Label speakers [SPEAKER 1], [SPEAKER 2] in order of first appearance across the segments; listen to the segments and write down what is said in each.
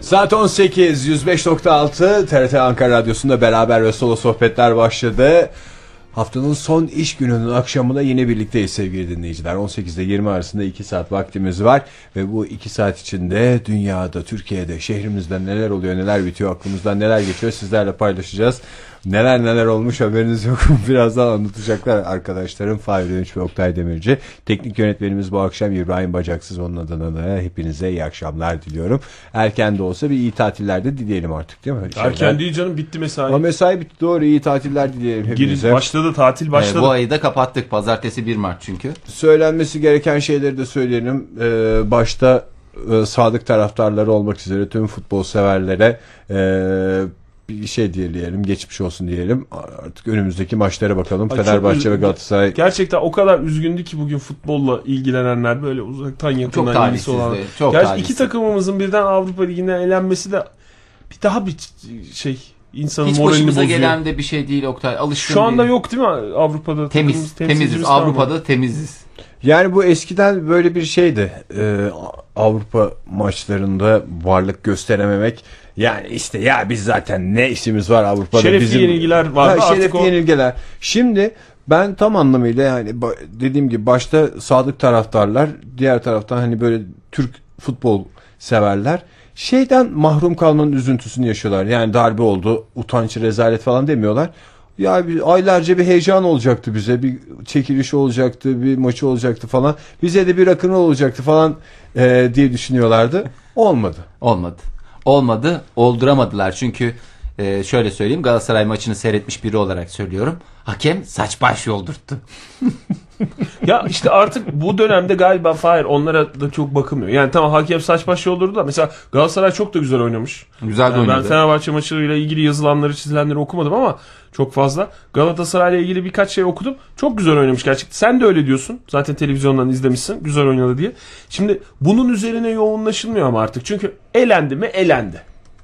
[SPEAKER 1] Saat 18, 105.6 TRT Ankara Radyosu'nda beraber ve solo sohbetler başladı. Haftanın son iş gününün akşamında yine birlikteyiz sevgili dinleyiciler. 18 ile 20 arasında 2 saat vaktimiz var ve bu 2 saat içinde dünyada, Türkiye'de, şehrimizde neler oluyor, neler bitiyor, aklımızdan neler geçiyor sizlerle paylaşacağız. Neler neler olmuş haberiniz yok. Birazdan anlatacaklar arkadaşlarım. Fahri Önç ve Oktay Demirci. Teknik yönetmenimiz bu akşam İbrahim Bacaksız. Onun adına da hepinize iyi akşamlar diliyorum. Erken de olsa bir iyi tatiller de dileyelim artık değil mi?
[SPEAKER 2] Erken değil canım bitti mesai.
[SPEAKER 1] Ama mesai bitti doğru iyi tatiller dileyelim
[SPEAKER 2] Giriş
[SPEAKER 1] hepinize.
[SPEAKER 2] başladı tatil
[SPEAKER 3] Ee, bu
[SPEAKER 2] başladı.
[SPEAKER 3] ayı da kapattık. Pazartesi 1 Mart çünkü.
[SPEAKER 1] Söylenmesi gereken şeyleri de söyleyelim. Ee, başta e, sadık taraftarları olmak üzere tüm futbol severlere e, bir şey diyelim geçmiş olsun diyelim. Artık önümüzdeki maçlara bakalım.
[SPEAKER 2] Ay, çok
[SPEAKER 1] Fenerbahçe
[SPEAKER 2] üzüldüm.
[SPEAKER 1] ve Galatasaray
[SPEAKER 2] Gerçekten o kadar üzgündü ki bugün futbolla ilgilenenler böyle uzaktan
[SPEAKER 3] Çok
[SPEAKER 2] yakından ilgisi
[SPEAKER 3] talihsizdi.
[SPEAKER 2] olan.
[SPEAKER 3] Çok
[SPEAKER 2] Gerçi
[SPEAKER 3] talihsiz.
[SPEAKER 2] iki takımımızın birden Avrupa Ligi'nden elenmesi de bir daha bir şey insanın
[SPEAKER 3] Hiç
[SPEAKER 2] moralini
[SPEAKER 3] başımıza
[SPEAKER 2] bozuyor.
[SPEAKER 3] gelen de bir şey değil Oktay. Alışkın
[SPEAKER 2] Şu anda
[SPEAKER 3] değil.
[SPEAKER 2] yok değil mi Avrupa'da?
[SPEAKER 3] Temiz.
[SPEAKER 2] takımımız,
[SPEAKER 3] Temiziz.
[SPEAKER 2] temsilcimiz kalmadı.
[SPEAKER 3] Avrupa'da temiziz.
[SPEAKER 1] Yani bu eskiden böyle bir şeydi. Ee, Avrupa maçlarında varlık gösterememek. Yani işte ya biz zaten ne işimiz var Avrupa'da
[SPEAKER 2] Şerefli
[SPEAKER 1] bizim.
[SPEAKER 2] yenilgiler vardı,
[SPEAKER 1] Ha,
[SPEAKER 2] artık
[SPEAKER 1] şerefli
[SPEAKER 2] o-
[SPEAKER 1] yenilgiler. Şimdi ben tam anlamıyla yani ba- dediğim gibi başta sadık taraftarlar, diğer taraftan hani böyle Türk futbol severler şeyden mahrum kalmanın üzüntüsünü yaşıyorlar. Yani darbe oldu, utanç, rezalet falan demiyorlar. Ya bir, aylarca bir heyecan olacaktı bize. Bir çekiliş olacaktı, bir maçı olacaktı falan. Bize de bir akın olacaktı falan eee, diye düşünüyorlardı. Olmadı.
[SPEAKER 3] Olmadı. Olmadı. Olduramadılar. Çünkü e, şöyle söyleyeyim. Galatasaray maçını seyretmiş biri olarak söylüyorum. Hakem saç baş yoldurttu.
[SPEAKER 2] Ya işte artık bu dönemde galiba Fahir onlara da çok bakılmıyor. Yani tamam hakem saç baş yoldurdu da mesela Galatasaray çok da güzel oynamış.
[SPEAKER 3] Güzel de
[SPEAKER 2] Yani ben
[SPEAKER 3] oynadı.
[SPEAKER 2] Fenerbahçe maçıyla ilgili yazılanları çizilenleri okumadım ama çok fazla. Galatasaray'la ilgili birkaç şey okudum. Çok güzel oynamış gerçekten. Sen de öyle diyorsun. Zaten televizyondan izlemişsin. Güzel oynadı diye. Şimdi bunun üzerine yoğunlaşılmıyor ama artık. Çünkü elendi mi elendi.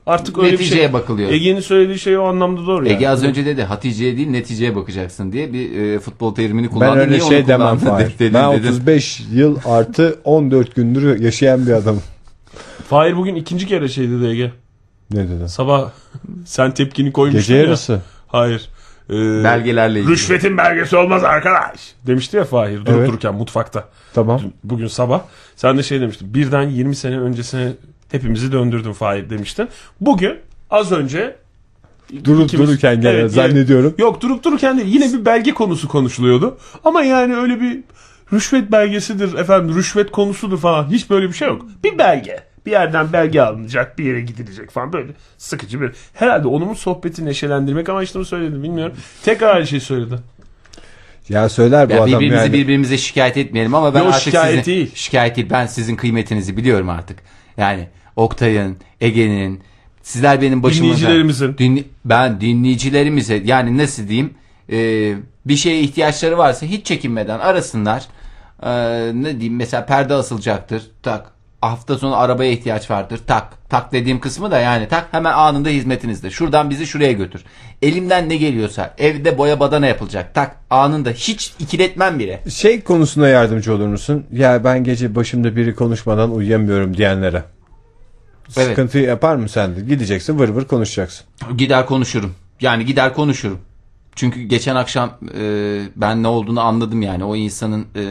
[SPEAKER 2] Artık öyle bir
[SPEAKER 3] Neticeye
[SPEAKER 2] şey.
[SPEAKER 3] bakılıyor.
[SPEAKER 2] Ege'nin söylediği şey o anlamda doğru yani.
[SPEAKER 3] Ege az önce dedi Hatice'ye değil neticeye bakacaksın diye bir e, futbol terimini kullandı.
[SPEAKER 1] Ben öyle
[SPEAKER 3] Niye onu
[SPEAKER 1] şey demem
[SPEAKER 3] kullandın?
[SPEAKER 1] Fahir.
[SPEAKER 3] Dedin,
[SPEAKER 1] ben
[SPEAKER 3] dedin.
[SPEAKER 1] 35 yıl artı 14 gündür yaşayan bir adamım.
[SPEAKER 2] Fahir bugün ikinci kere şey dedi Ege.
[SPEAKER 1] Ne dedin?
[SPEAKER 2] Sabah sen tepkini koymuştun
[SPEAKER 1] Gece
[SPEAKER 2] ya.
[SPEAKER 1] yarısı.
[SPEAKER 2] Hayır. Ee,
[SPEAKER 3] Belgelerle ilgili.
[SPEAKER 2] Rüşvetin belgesi olmaz arkadaş. Demişti ya Fahir durup
[SPEAKER 1] Evet.
[SPEAKER 2] dururken mutfakta.
[SPEAKER 1] Tamam.
[SPEAKER 2] Dün- Bugün sabah. Sen de şey demiştin. Birden 20 sene öncesine hepimizi döndürdün Fahir demiştin. Bugün az önce
[SPEAKER 1] Durup
[SPEAKER 2] ikimiz-
[SPEAKER 1] dururken gene
[SPEAKER 2] Evet,
[SPEAKER 1] zannediyorum.
[SPEAKER 2] Yok durup dururken değil. Yine bir belge konusu konuşuluyordu. Ama yani öyle bir rüşvet belgesidir efendim rüşvet konusudur falan. Hiç böyle bir şey yok. Bir belge. Bir yerden belge alınacak bir yere gidilecek falan böyle sıkıcı bir. Herhalde onun sohbeti neşelendirmek amaçlı mı söyledim bilmiyorum. Tekrar aynı şeyi söyledi.
[SPEAKER 1] Ya söyler bu
[SPEAKER 3] Ya
[SPEAKER 1] adam
[SPEAKER 3] birbirimizi
[SPEAKER 1] yani.
[SPEAKER 3] birbirimize şikayet etmeyelim ama ben
[SPEAKER 2] Yo,
[SPEAKER 3] artık
[SPEAKER 2] şikayet
[SPEAKER 3] sizin
[SPEAKER 2] değil.
[SPEAKER 3] şikayet değil. Ben sizin kıymetinizi biliyorum artık. Yani Oktay'ın, Ege'nin, sizler benim başımda.
[SPEAKER 2] Dinleyicilerimizin.
[SPEAKER 3] Dinli- ben dinleyicilerimize yani nasıl diyeyim e, bir şeye ihtiyaçları varsa hiç çekinmeden arasınlar. E, ne diyeyim mesela perde asılacaktır. Tak. Hafta sonu arabaya ihtiyaç vardır. Tak. Tak dediğim kısmı da yani tak hemen anında hizmetinizde. Şuradan bizi şuraya götür. Elimden ne geliyorsa evde boya badana yapılacak. Tak anında hiç ikiletmem bile.
[SPEAKER 1] Şey konusunda yardımcı olur musun? Ya ben gece başımda biri konuşmadan uyuyamıyorum diyenlere.
[SPEAKER 3] Evet.
[SPEAKER 1] Sıkıntı yapar mı sen de? Gideceksin vır vır konuşacaksın.
[SPEAKER 3] Gider konuşurum. Yani gider konuşurum. Çünkü geçen akşam e, ben ne olduğunu anladım yani. O insanın e,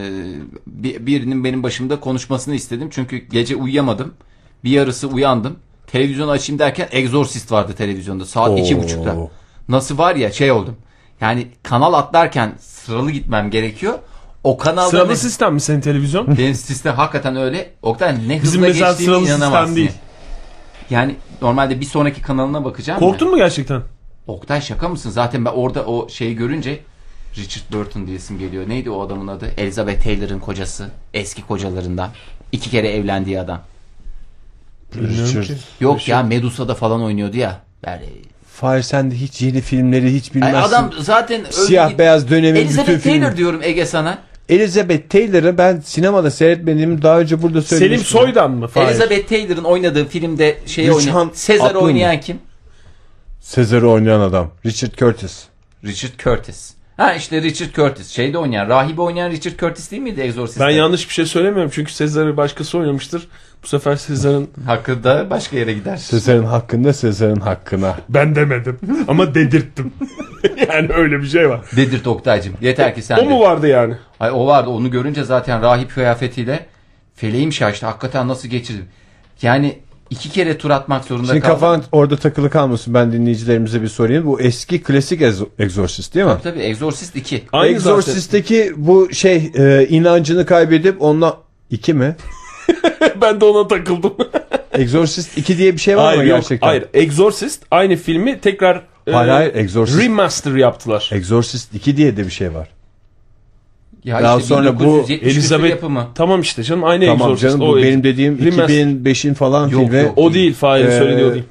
[SPEAKER 3] bir- birinin benim başımda konuşmasını istedim. Çünkü gece uyuyamadım. Bir yarısı uyandım. Televizyonu açayım derken Exorcist vardı televizyonda. Saat iki
[SPEAKER 1] Oo.
[SPEAKER 3] buçukta. Nasıl var ya şey oldum. Yani kanal atlarken sıralı gitmem gerekiyor. O kanalda
[SPEAKER 2] Sıralı
[SPEAKER 3] ne-
[SPEAKER 2] sistem mi senin televizyon?
[SPEAKER 3] benim sistem hakikaten öyle. Oktay ne
[SPEAKER 2] Bizim
[SPEAKER 3] hızla
[SPEAKER 2] mesela
[SPEAKER 3] geçtiğine
[SPEAKER 2] sıralı sistem
[SPEAKER 3] inanamazsın.
[SPEAKER 2] değil.
[SPEAKER 3] Yani normalde bir sonraki kanalına bakacağım. ya.
[SPEAKER 2] Korktun mu gerçekten?
[SPEAKER 3] Oktay şaka mısın? Zaten ben orada o şeyi görünce Richard Burton diyesim geliyor. Neydi o adamın adı? Elizabeth Taylor'ın kocası. Eski kocalarından. İki kere evlendiği adam.
[SPEAKER 1] Richard.
[SPEAKER 3] Yok ya Medusa'da falan oynuyordu ya. Yani,
[SPEAKER 1] Fahir sen de hiç yeni filmleri hiç
[SPEAKER 3] Ay,
[SPEAKER 1] bilmezsin.
[SPEAKER 3] adam zaten öldü
[SPEAKER 1] Siyah
[SPEAKER 3] gitti.
[SPEAKER 1] beyaz dönemin bütün
[SPEAKER 3] Elizabeth Taylor
[SPEAKER 1] filmi.
[SPEAKER 3] diyorum Ege sana.
[SPEAKER 1] Elizabeth Taylor'ı ben sinemada seyretmediğimi daha önce burada
[SPEAKER 2] Selim
[SPEAKER 1] söylemiştim.
[SPEAKER 2] Soydan mı? Fahir?
[SPEAKER 3] Elizabeth Taylor'ın oynadığı filmde şey
[SPEAKER 1] Rüçhan
[SPEAKER 3] oynayan Sezar
[SPEAKER 1] Atlı mı?
[SPEAKER 3] oynayan kim?
[SPEAKER 1] Sezar'ı oynayan adam. Richard Curtis.
[SPEAKER 3] Richard Curtis. Ha işte Richard Curtis. Şeyde oynayan, rahibi oynayan Richard Curtis değil miydi Exorcist'te?
[SPEAKER 2] Ben yanlış bir şey söylemiyorum çünkü Sezar'ı başkası oynamıştır. Bu sefer Sezar'ın
[SPEAKER 3] Hakkı da başka yere gider.
[SPEAKER 1] Sezar'ın hakkında Sezar'ın hakkına.
[SPEAKER 2] ben demedim ama dedirttim. yani öyle bir şey var.
[SPEAKER 3] Dedir Oktay'cım. Yeter ki sen
[SPEAKER 2] O
[SPEAKER 3] de.
[SPEAKER 2] mu vardı yani?
[SPEAKER 3] Ay, o vardı onu görünce zaten rahip kıyafetiyle feleğim şaştı. Hakikaten nasıl geçirdim. Yani iki kere tur atmak zorunda
[SPEAKER 1] Şimdi
[SPEAKER 3] kaldım.
[SPEAKER 1] kafan orada takılı kalmasın. Ben dinleyicilerimize bir sorayım. Bu eski klasik ez- Exorcist değil mi?
[SPEAKER 3] Tabii Exorcist 2.
[SPEAKER 2] Aynı zaten.
[SPEAKER 1] Exorcist'teki bu şey e, inancını kaybedip onunla... iki mi?
[SPEAKER 2] ben de ona takıldım.
[SPEAKER 1] Exorcist 2 diye bir şey var mı
[SPEAKER 2] hayır, yok,
[SPEAKER 1] gerçekten?
[SPEAKER 2] hayır. Exorcist aynı filmi tekrar e,
[SPEAKER 1] Hayır, hayır, Exorcist.
[SPEAKER 2] remaster yaptılar.
[SPEAKER 1] Exorcist 2 diye de bir şey var.
[SPEAKER 3] Ya
[SPEAKER 1] Daha sonra bu
[SPEAKER 3] 1970
[SPEAKER 2] Elizabeth
[SPEAKER 3] yapımı.
[SPEAKER 2] şey Tamam işte canım aynı
[SPEAKER 1] Tamam
[SPEAKER 2] Exorcist.
[SPEAKER 1] canım
[SPEAKER 2] o,
[SPEAKER 1] bu benim dediğim
[SPEAKER 2] Remaster.
[SPEAKER 1] 2005'in falan
[SPEAKER 3] Yok,
[SPEAKER 1] filmi.
[SPEAKER 3] yok.
[SPEAKER 2] o değil Fahir
[SPEAKER 1] Ee,
[SPEAKER 2] söylediği o değil.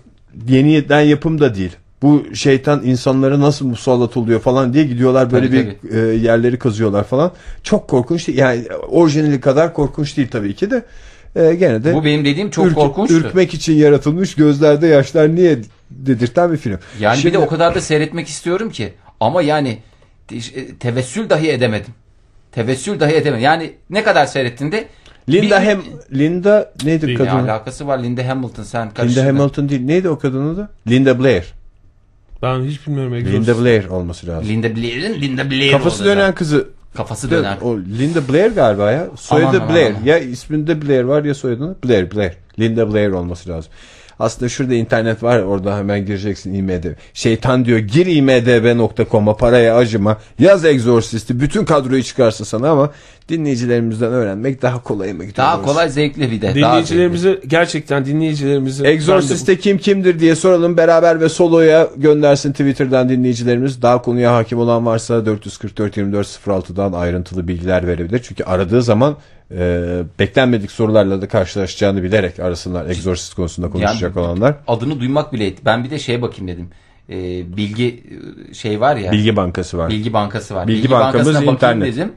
[SPEAKER 1] Yeniden yapım da değil. Bu şeytan insanlara nasıl musallat oluyor falan diye gidiyorlar böyle
[SPEAKER 3] Tabii,
[SPEAKER 1] bir e, yerleri kazıyorlar falan. Çok korkunç değil. Yani orijinali kadar korkunç değil tabii ki de. E, gene de
[SPEAKER 3] Bu benim dediğim çok
[SPEAKER 1] ürk-
[SPEAKER 3] korkunçtu.
[SPEAKER 1] ürkmek için yaratılmış gözlerde yaşlar niye dedirten bir film.
[SPEAKER 3] Yani
[SPEAKER 1] Şimdi-
[SPEAKER 3] bir de o kadar da seyretmek istiyorum ki. Ama yani te- tevessül dahi edemedim. Tevessül dahi edemedim. Yani ne kadar seyrettin de
[SPEAKER 1] Linda
[SPEAKER 3] bir-
[SPEAKER 1] hem Linda neydi
[SPEAKER 2] Linda
[SPEAKER 3] ne
[SPEAKER 1] kadın?
[SPEAKER 3] alakası var Linda Hamilton sen
[SPEAKER 1] Linda
[SPEAKER 3] karıştırdın.
[SPEAKER 1] Hamilton değil. Neydi o kadının adı? Linda Blair.
[SPEAKER 2] Ben hiç bilmiyorum Exorcist.
[SPEAKER 1] Linda Blair olması lazım.
[SPEAKER 3] Linda Blair'in Linda Blair
[SPEAKER 1] Kafası
[SPEAKER 3] olacak.
[SPEAKER 1] dönen kızı
[SPEAKER 3] Kafası
[SPEAKER 1] De-
[SPEAKER 3] dönen.
[SPEAKER 1] O Linda Blair galiba ya. Soyadı
[SPEAKER 3] Aman, aman,
[SPEAKER 1] Blair.
[SPEAKER 3] aman.
[SPEAKER 1] Ya isminde Blair var ya soyadını. Blair, Blair. Linda Blair olması lazım. Aslında şurada internet var. Orada hemen gireceksin IMDb. Şeytan diyor gir imdb.com'a paraya acıma. Yaz Exorcist'i. Bütün kadroyu çıkarsın sana ama dinleyicilerimizden öğrenmek daha kolayıma gidiyor.
[SPEAKER 3] Daha
[SPEAKER 1] doğrusu.
[SPEAKER 3] kolay zevkli bir de. daha zevkli.
[SPEAKER 2] Dinleyicilerimize gerçekten dinleyicilerimize
[SPEAKER 1] Exorcist'te kim kimdir diye soralım beraber ve soloya göndersin Twitter'dan dinleyicilerimiz. Daha konuya hakim olan varsa 444 24 06'dan ayrıntılı bilgiler verebilir. Çünkü aradığı zaman e, beklenmedik sorularla da karşılaşacağını bilerek arasınlar Exorcist konusunda konuşacak
[SPEAKER 3] Yani-
[SPEAKER 1] olanlar.
[SPEAKER 3] Adını duymak bile etti. Ben bir de şeye bakayım dedim. Ee, bilgi e, şey var ya. Bilgi,
[SPEAKER 1] Bilgi Bankası var.
[SPEAKER 3] Bankası var.
[SPEAKER 1] Bilgi bankamız
[SPEAKER 3] bakayım
[SPEAKER 1] internet.
[SPEAKER 3] dedim.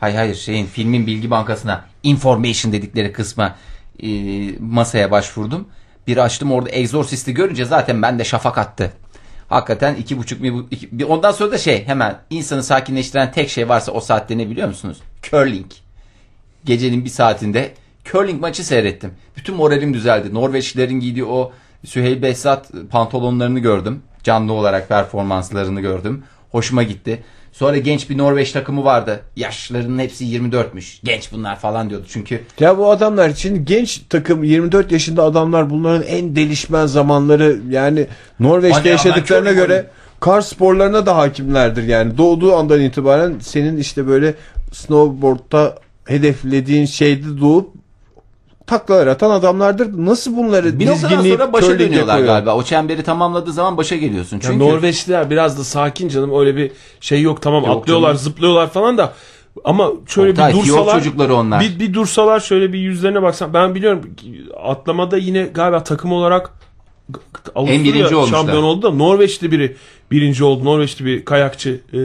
[SPEAKER 3] Hayır hayır şeyin filmin Bilgi Bankası'na information dedikleri kısma e, masaya başvurdum. Bir açtım orada Exorcist'i görünce zaten ben de şafak attı. Hakikaten iki buçuk bir, bu- iki- bir- ondan sonra da şey hemen insanı sakinleştiren tek şey varsa o saatte ne biliyor musunuz? Curling. gecenin bir saatinde curling maçı seyrettim. Bütün moralim düzeldi. Norveçlilerin giydiği o Süheyl Behzat pantolonlarını gördüm. Canlı olarak performanslarını gördüm. Hoşuma gitti. Sonra genç bir Norveç takımı vardı. Yaşlarının hepsi 24'müş. Genç bunlar falan diyordu. Çünkü
[SPEAKER 1] Ya bu adamlar için genç takım 24 yaşında adamlar bunların en delişmen zamanları yani Norveç'te
[SPEAKER 3] Hani ya, ben
[SPEAKER 1] yaşadıklarına
[SPEAKER 3] çok
[SPEAKER 1] göre
[SPEAKER 3] iyiyim.
[SPEAKER 1] kar sporlarına da hakimlerdir yani doğduğu andan itibaren senin işte böyle snowboard'da hedeflediğin şeyde doğup taklalar atan adamlardır. Nasıl bunları
[SPEAKER 3] bir noktadan
[SPEAKER 1] dizginleyip
[SPEAKER 3] sonra başa
[SPEAKER 1] curling'e
[SPEAKER 3] dönüyorlar
[SPEAKER 1] koyuyor?
[SPEAKER 3] galiba. O çemberi tamamladığı zaman başa geliyorsun.
[SPEAKER 2] Ya
[SPEAKER 3] Çünkü
[SPEAKER 2] Norveçliler biraz da sakin canım öyle bir şey yok tamam
[SPEAKER 3] Yok
[SPEAKER 2] atlıyorlar
[SPEAKER 3] canım.
[SPEAKER 2] zıplıyorlar falan da ama şöyle
[SPEAKER 3] Oktay,
[SPEAKER 2] bir
[SPEAKER 3] Fiyor
[SPEAKER 2] dursalar
[SPEAKER 3] çocukları onlar.
[SPEAKER 2] Bir, bir dursalar şöyle bir yüzlerine baksan ben biliyorum ki atlamada yine galiba takım olarak Avusturya
[SPEAKER 3] En birinci olmuşlar.
[SPEAKER 2] şampiyon oldu da Norveçli biri birinci oldu. Norveçli bir kayakçı e,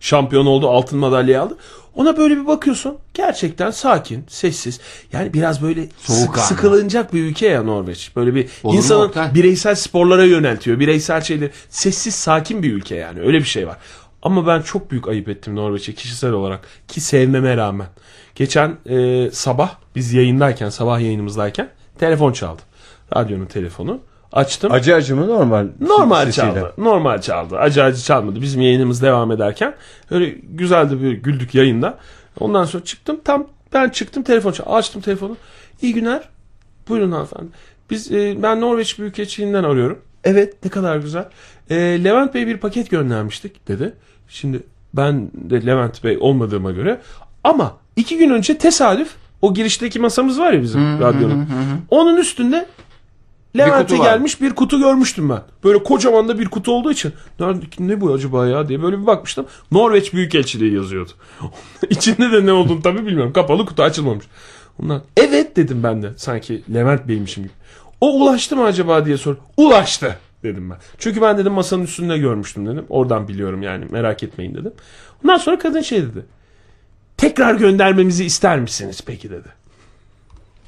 [SPEAKER 2] şampiyon oldu. Altın madalyayı aldı. Ona böyle bir bakıyorsun. Gerçekten sakin, sessiz. Yani biraz böyle sık,
[SPEAKER 3] Soğukkanlı.
[SPEAKER 2] sıkılınacak bir ülke ya Norveç. Böyle bir
[SPEAKER 3] Olur mu
[SPEAKER 2] insanın
[SPEAKER 3] Oktay?
[SPEAKER 2] bireysel sporlara yöneltiyor. Bireysel şeyleri. Sessiz sakin bir ülke yani. Öyle bir şey var. Ama ben çok büyük ayıp ettim Norveç'e kişisel olarak. Ki sevmeme rağmen. Geçen e, sabah biz yayındayken, sabah yayınımızdayken telefon çaldı. Radyonun telefonu. Açtım.
[SPEAKER 1] Acı acı mı normal?
[SPEAKER 2] Normal
[SPEAKER 1] sesiyle?
[SPEAKER 2] çaldı. Normal çaldı. Acı acı çalmadı. Bizim yayınımız devam ederken öyle güzeldi bir güldük yayında. Ondan sonra çıktım tam ben çıktım telefon çaldı. Açtım telefonu. İyi günler. Buyurun hanımefendi. Biz e, ben Norveç Büyükelçiliğinden arıyorum. Evet ne kadar güzel. E, Levent Bey bir paket göndermiştik dedi. Şimdi ben de Levent Bey olmadığıma göre ama iki gün önce tesadüf o girişteki masamız var ya bizim radyonun. Onun üstünde Levent'e
[SPEAKER 3] kutu var.
[SPEAKER 2] gelmiş bir kutu görmüştüm ben. Böyle kocaman da bir kutu olduğu için. "Nerede- Ne bu acaba ya diye böyle bir bakmıştım. Norveç Büyükelçiliği yazıyordu. İçinde de ne olduğunu tabii bilmiyorum. Kapalı kutu açılmamış. Ondan evet dedim ben de. Sanki Levent Bey'mişim gibi. O ulaştı mı acaba diye sor. Ulaştı dedim ben. Çünkü ben dedim masanın üstünde görmüştüm dedim. Oradan biliyorum yani merak etmeyin dedim. Ondan sonra kadın şey dedi. Tekrar göndermemizi ister misiniz peki dedi.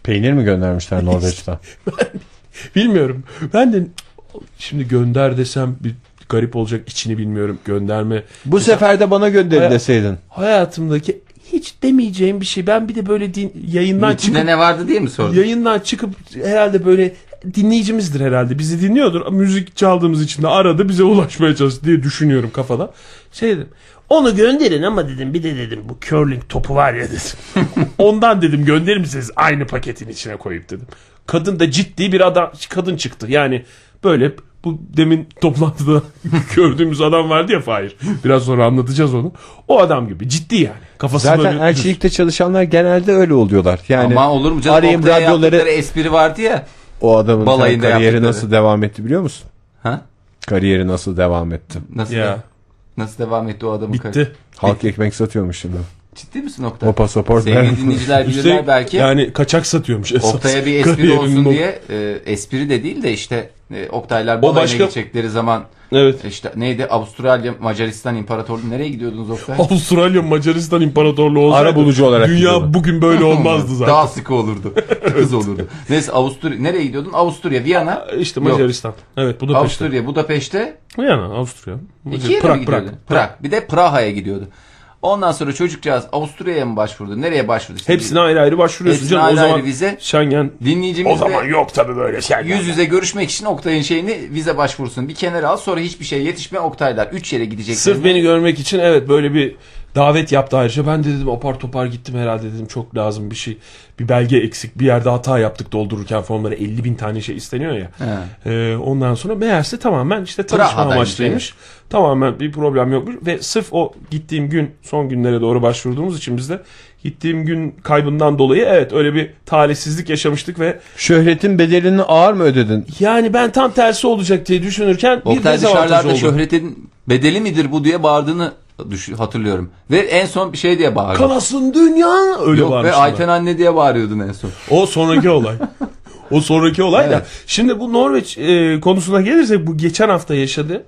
[SPEAKER 1] Peynir mi göndermişler Norveç'ten?
[SPEAKER 2] Bilmiyorum. Ben de şimdi gönder desem bir garip olacak içini bilmiyorum. Gönderme.
[SPEAKER 1] Bu sefer de bana gönderin deseydin.
[SPEAKER 2] Hayatımdaki hiç hiç demeyeceğim bir şey. Ben bir de böyle din, yayından çıkıp
[SPEAKER 3] İçinde ne vardı diye mi sordun?
[SPEAKER 2] yayından çıkıp herhalde böyle dinleyicimizdir herhalde. Bizi dinliyordur. Müzik çaldığımız için de aradı bize ulaşmaya çalıştı diye düşünüyorum kafada. Şey dedim. Onu gönderin ama dedim bir de dedim bu curling topu var ya dedim. Ondan dedim gönderir misiniz aynı paketin içine koyup dedim. Kadın da ciddi bir adam kadın çıktı. Yani böyle bu demin toplantıda gördüğümüz adam vardı ya Fahir. Biraz sonra anlatacağız onu. O adam gibi ciddi yani. Kafasında
[SPEAKER 1] Zaten
[SPEAKER 2] bir-
[SPEAKER 1] elçilikte çalışanlar genelde öyle oluyorlar. Yani
[SPEAKER 3] Ama olur mu canım?
[SPEAKER 1] arayayım
[SPEAKER 3] Oktay'a
[SPEAKER 1] radyoları-
[SPEAKER 3] yaptıkları espri vardı ya.
[SPEAKER 1] o adamın sen
[SPEAKER 3] Balayında
[SPEAKER 1] kariyeri
[SPEAKER 3] yaptıkları.
[SPEAKER 1] nasıl devam etti biliyor musun?
[SPEAKER 3] Ha?
[SPEAKER 1] Kariyeri nasıl devam etti?
[SPEAKER 3] Nasıl
[SPEAKER 2] Ya.
[SPEAKER 3] nasıl devam etti o adamın kariyeri?
[SPEAKER 2] Bitti. E-
[SPEAKER 1] Halk ekmek satıyormuş şimdi.
[SPEAKER 3] Ciddi misin Oktay?
[SPEAKER 1] O pasaport ver.
[SPEAKER 3] Sevgili dinleyiciler bilirler
[SPEAKER 2] Üstelik
[SPEAKER 3] belki.
[SPEAKER 2] Yani kaçak satıyormuş esas.
[SPEAKER 3] Oktay'a bir espri
[SPEAKER 2] Kariyerinin
[SPEAKER 3] olsun
[SPEAKER 2] o-
[SPEAKER 3] diye e, espri de değil de işte e, Oktaylar balayına
[SPEAKER 2] başka-
[SPEAKER 3] gidecekleri zaman
[SPEAKER 2] Evet.
[SPEAKER 3] işte neydi Avustralya Macaristan İmparatorluğu nereye gidiyordunuz Oktay?
[SPEAKER 2] Avustralya Macaristan İmparatorluğu olsaydı
[SPEAKER 1] Ara bulucu olarak
[SPEAKER 2] dünya
[SPEAKER 1] gidiyorlar.
[SPEAKER 2] bugün böyle olmazdı zaten.
[SPEAKER 3] Daha sıkı olurdu. Kız olurdu. Neyse Avusturya nereye gidiyordun? Avusturya, Viyana.
[SPEAKER 2] İşte
[SPEAKER 3] Yok.
[SPEAKER 2] Macaristan. Evet bu da peşte.
[SPEAKER 3] Avusturya, Budapeşte.
[SPEAKER 2] Yani Avusturya.
[SPEAKER 3] İki
[SPEAKER 2] Macaristan.
[SPEAKER 3] yere mi
[SPEAKER 2] Prag, Prag.
[SPEAKER 3] gidiyordu? Prag. Bir de Praha'ya gidiyordu. Ondan sonra çocukcağız Avusturya'ya mı başvurdu? Nereye başvurdu? İşte
[SPEAKER 2] Hepsine ayrı ayrı başvuruyorsun
[SPEAKER 3] Hepsine
[SPEAKER 2] canım.
[SPEAKER 3] ayrı
[SPEAKER 2] o zaman
[SPEAKER 3] ayrı vize.
[SPEAKER 2] Schengen.
[SPEAKER 3] Dinleyicimiz
[SPEAKER 2] O zaman
[SPEAKER 3] de
[SPEAKER 2] yok tabii böyle şey. Schengen.
[SPEAKER 3] yüz yüze görüşmek için Oktay'ın şeyini vize başvurusunu bir kenara al. Sonra hiçbir şey yetişme Oktaylar. Üç yere gidecek.
[SPEAKER 2] Sırf beni görmek için evet böyle bir davet yaptı ayrıca. Ben de dedim apar topar gittim herhalde dedim çok lazım bir şey. Bir belge eksik bir yerde hata yaptık doldururken formlara 50 bin tane şey isteniyor ya. Ee, ondan sonra meğerse tamamen işte tanışma
[SPEAKER 3] Praha'daymış,
[SPEAKER 2] amaçlıymış. Tamamen bir problem yokmuş. Ve sırf o gittiğim gün son günlere doğru başvurduğumuz için biz de gittiğim gün kaybından dolayı evet öyle bir talihsizlik yaşamıştık ve
[SPEAKER 1] Şöhretin bedelini ağır mı ödedin?
[SPEAKER 2] yani ben tam tersi olacak diye düşünürken bir
[SPEAKER 3] Oktay
[SPEAKER 2] dezavantaj
[SPEAKER 3] dışarılarda
[SPEAKER 2] oldu.
[SPEAKER 3] şöhretin bedeli midir bu diye bağırdığını düş- hatırlıyorum. Ve en son bir şey diye bağırdı.
[SPEAKER 2] Kalasın dünya öyle
[SPEAKER 3] Yok ve
[SPEAKER 2] bağırmıştım ben.
[SPEAKER 3] Ayten anne diye bağırıyordun en son.
[SPEAKER 2] O sonraki olay. O sonraki olay da.
[SPEAKER 3] Evet.
[SPEAKER 2] Şimdi bu Norveç e, konusuna gelirsek bu geçen hafta yaşadığım.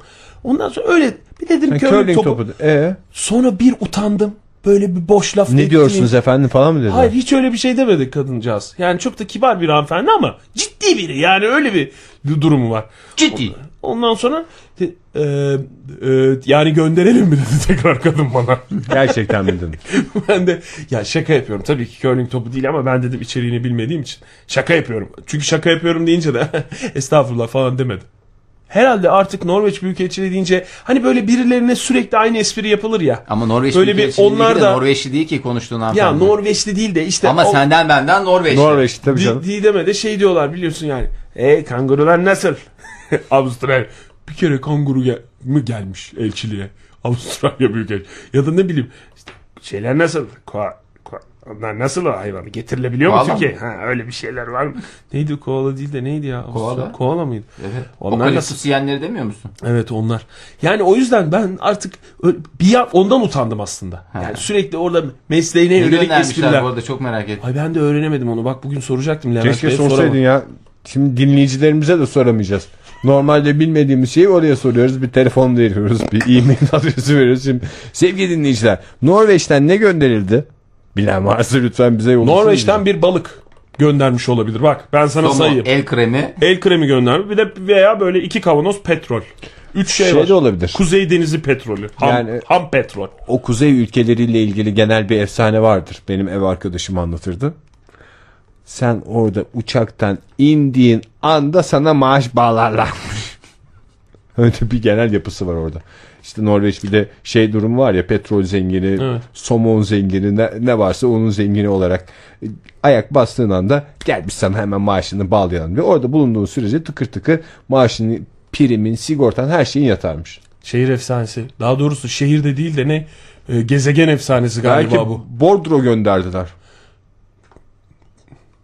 [SPEAKER 2] Ondan sonra öyle bir dedim
[SPEAKER 1] Yani
[SPEAKER 2] ki
[SPEAKER 1] curling
[SPEAKER 2] topu.
[SPEAKER 1] topu. Ee,
[SPEAKER 2] Sonra bir utandım. Böyle bir boş laf
[SPEAKER 1] ne
[SPEAKER 2] ettiğim-
[SPEAKER 1] diyorsunuz efendim falan mı dediler?
[SPEAKER 2] Hayır hiç öyle bir şey demedi kadıncağız. Yani çok da kibar bir hanımefendi ama ciddi biri. Yani öyle bir bir durumu var.
[SPEAKER 3] Ciddi.
[SPEAKER 2] Ondan sonra e, e, yani gönderelim mi dedi tekrar kadın bana.
[SPEAKER 1] Gerçekten mi dedin?
[SPEAKER 2] ben de ya şaka yapıyorum. Tabii ki curling topu değil ama ben dedim içeriğini bilmediğim için. Şaka yapıyorum. Çünkü şaka yapıyorum deyince de estağfurullah falan demedi. Herhalde artık Norveç Büyükelçiliği deyince hani böyle birilerine sürekli aynı espri yapılır ya.
[SPEAKER 3] Ama Norveç
[SPEAKER 2] Böyle bir
[SPEAKER 3] Büyükelçiliği değil
[SPEAKER 2] onlar
[SPEAKER 3] de
[SPEAKER 2] da-
[SPEAKER 3] Norveçli değil ki konuştuğun
[SPEAKER 2] ya
[SPEAKER 3] hanımefendi.
[SPEAKER 2] Norveçli değil de işte
[SPEAKER 3] Ama
[SPEAKER 2] o-
[SPEAKER 3] senden benden Norveçli.
[SPEAKER 1] Norveç tabii
[SPEAKER 2] Di-
[SPEAKER 1] canım.
[SPEAKER 2] Didem'e de şey diyorlar biliyorsun yani. E kangurular nasıl? Avustralya. Bir kere kanguru gel mı gelmiş elçiliğe? Avustralya Büyükelçiliği. Ya da ne bileyim işte şeyler nasıl? Koa, koa, onlar nasıl o hayvanı? Getirilebiliyor mu
[SPEAKER 3] Koala
[SPEAKER 2] Türkiye? Ha, öyle bir şeyler var mı? neydi koala değil de neydi ya? Avustralya- Koala mıydı?
[SPEAKER 3] Evet.
[SPEAKER 2] Onlar
[SPEAKER 3] Onlar
[SPEAKER 2] nasıl-
[SPEAKER 3] yiyenleri demiyor musun?
[SPEAKER 2] Evet onlar. Yani o yüzden ben artık ö- bir ya- ondan utandım aslında. Yani sürekli orada mesleğine
[SPEAKER 3] Ne
[SPEAKER 2] yönelik
[SPEAKER 3] göndermişler
[SPEAKER 2] espriler.
[SPEAKER 3] bu arada çok merak ettim.
[SPEAKER 2] Ay ben de öğrenemedim onu. Bak bugün soracaktım Levent
[SPEAKER 1] Keşke
[SPEAKER 2] Bey'e
[SPEAKER 1] sorsaydın
[SPEAKER 2] soramadım.
[SPEAKER 1] ya. Şimdi dinleyicilerimize de soramayacağız. Normalde bilmediğimiz şeyi oraya soruyoruz. Bir telefon veriyoruz. Bir e-mail adresi veriyoruz. Şimdi sevgili dinleyiciler. Norveç'ten ne gönderildi? Bilen varsa lütfen bize yollasın.
[SPEAKER 2] Norveç'ten bir balık göndermiş olabilir. Bak ben sana
[SPEAKER 3] Somo,
[SPEAKER 2] sayayım.
[SPEAKER 1] E-
[SPEAKER 2] El,
[SPEAKER 3] el kremi.
[SPEAKER 2] kremi göndermiş. Bir de veya böyle iki kavanoz petrol. Üç şey,
[SPEAKER 1] şey
[SPEAKER 2] var.
[SPEAKER 1] de olabilir.
[SPEAKER 2] Kuzey Denizi petrolü. Ham,
[SPEAKER 1] Yani-
[SPEAKER 2] ham petrol.
[SPEAKER 1] o kuzey ülkeleriyle ilgili genel bir efsane vardır. Benim ev arkadaşım anlatırdı. Sen orada uçaktan indiğin anda sana maaş bağlarlarmış. Öyle bir genel yapısı var orada. İşte Norveç bir de şey durumu var ya petrol zengini,
[SPEAKER 2] Evet.
[SPEAKER 1] somon zengini ne, ne varsa onun zengini olarak e, ayak bastığın anda gel biz sana hemen maaşını bağlayalım diyor. Orada bulunduğun sürece tıkır tıkır maaşını, primin, sigortan her şeyin yatarmış.
[SPEAKER 2] Şehir efsanesi. Daha doğrusu şehirde değil de ne? e, gezegen efsanesi galiba
[SPEAKER 1] Belki
[SPEAKER 2] bu.
[SPEAKER 1] bordro gönderdiler.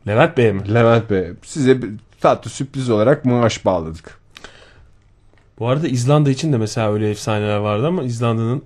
[SPEAKER 2] Levent Bey mi?
[SPEAKER 1] Levent Bey size bir tatlı sürpriz olarak maaş bağladık.
[SPEAKER 2] Bu arada İzlanda için de mesela öyle efsaneler vardı ama İzlanda'nın
[SPEAKER 3] Ne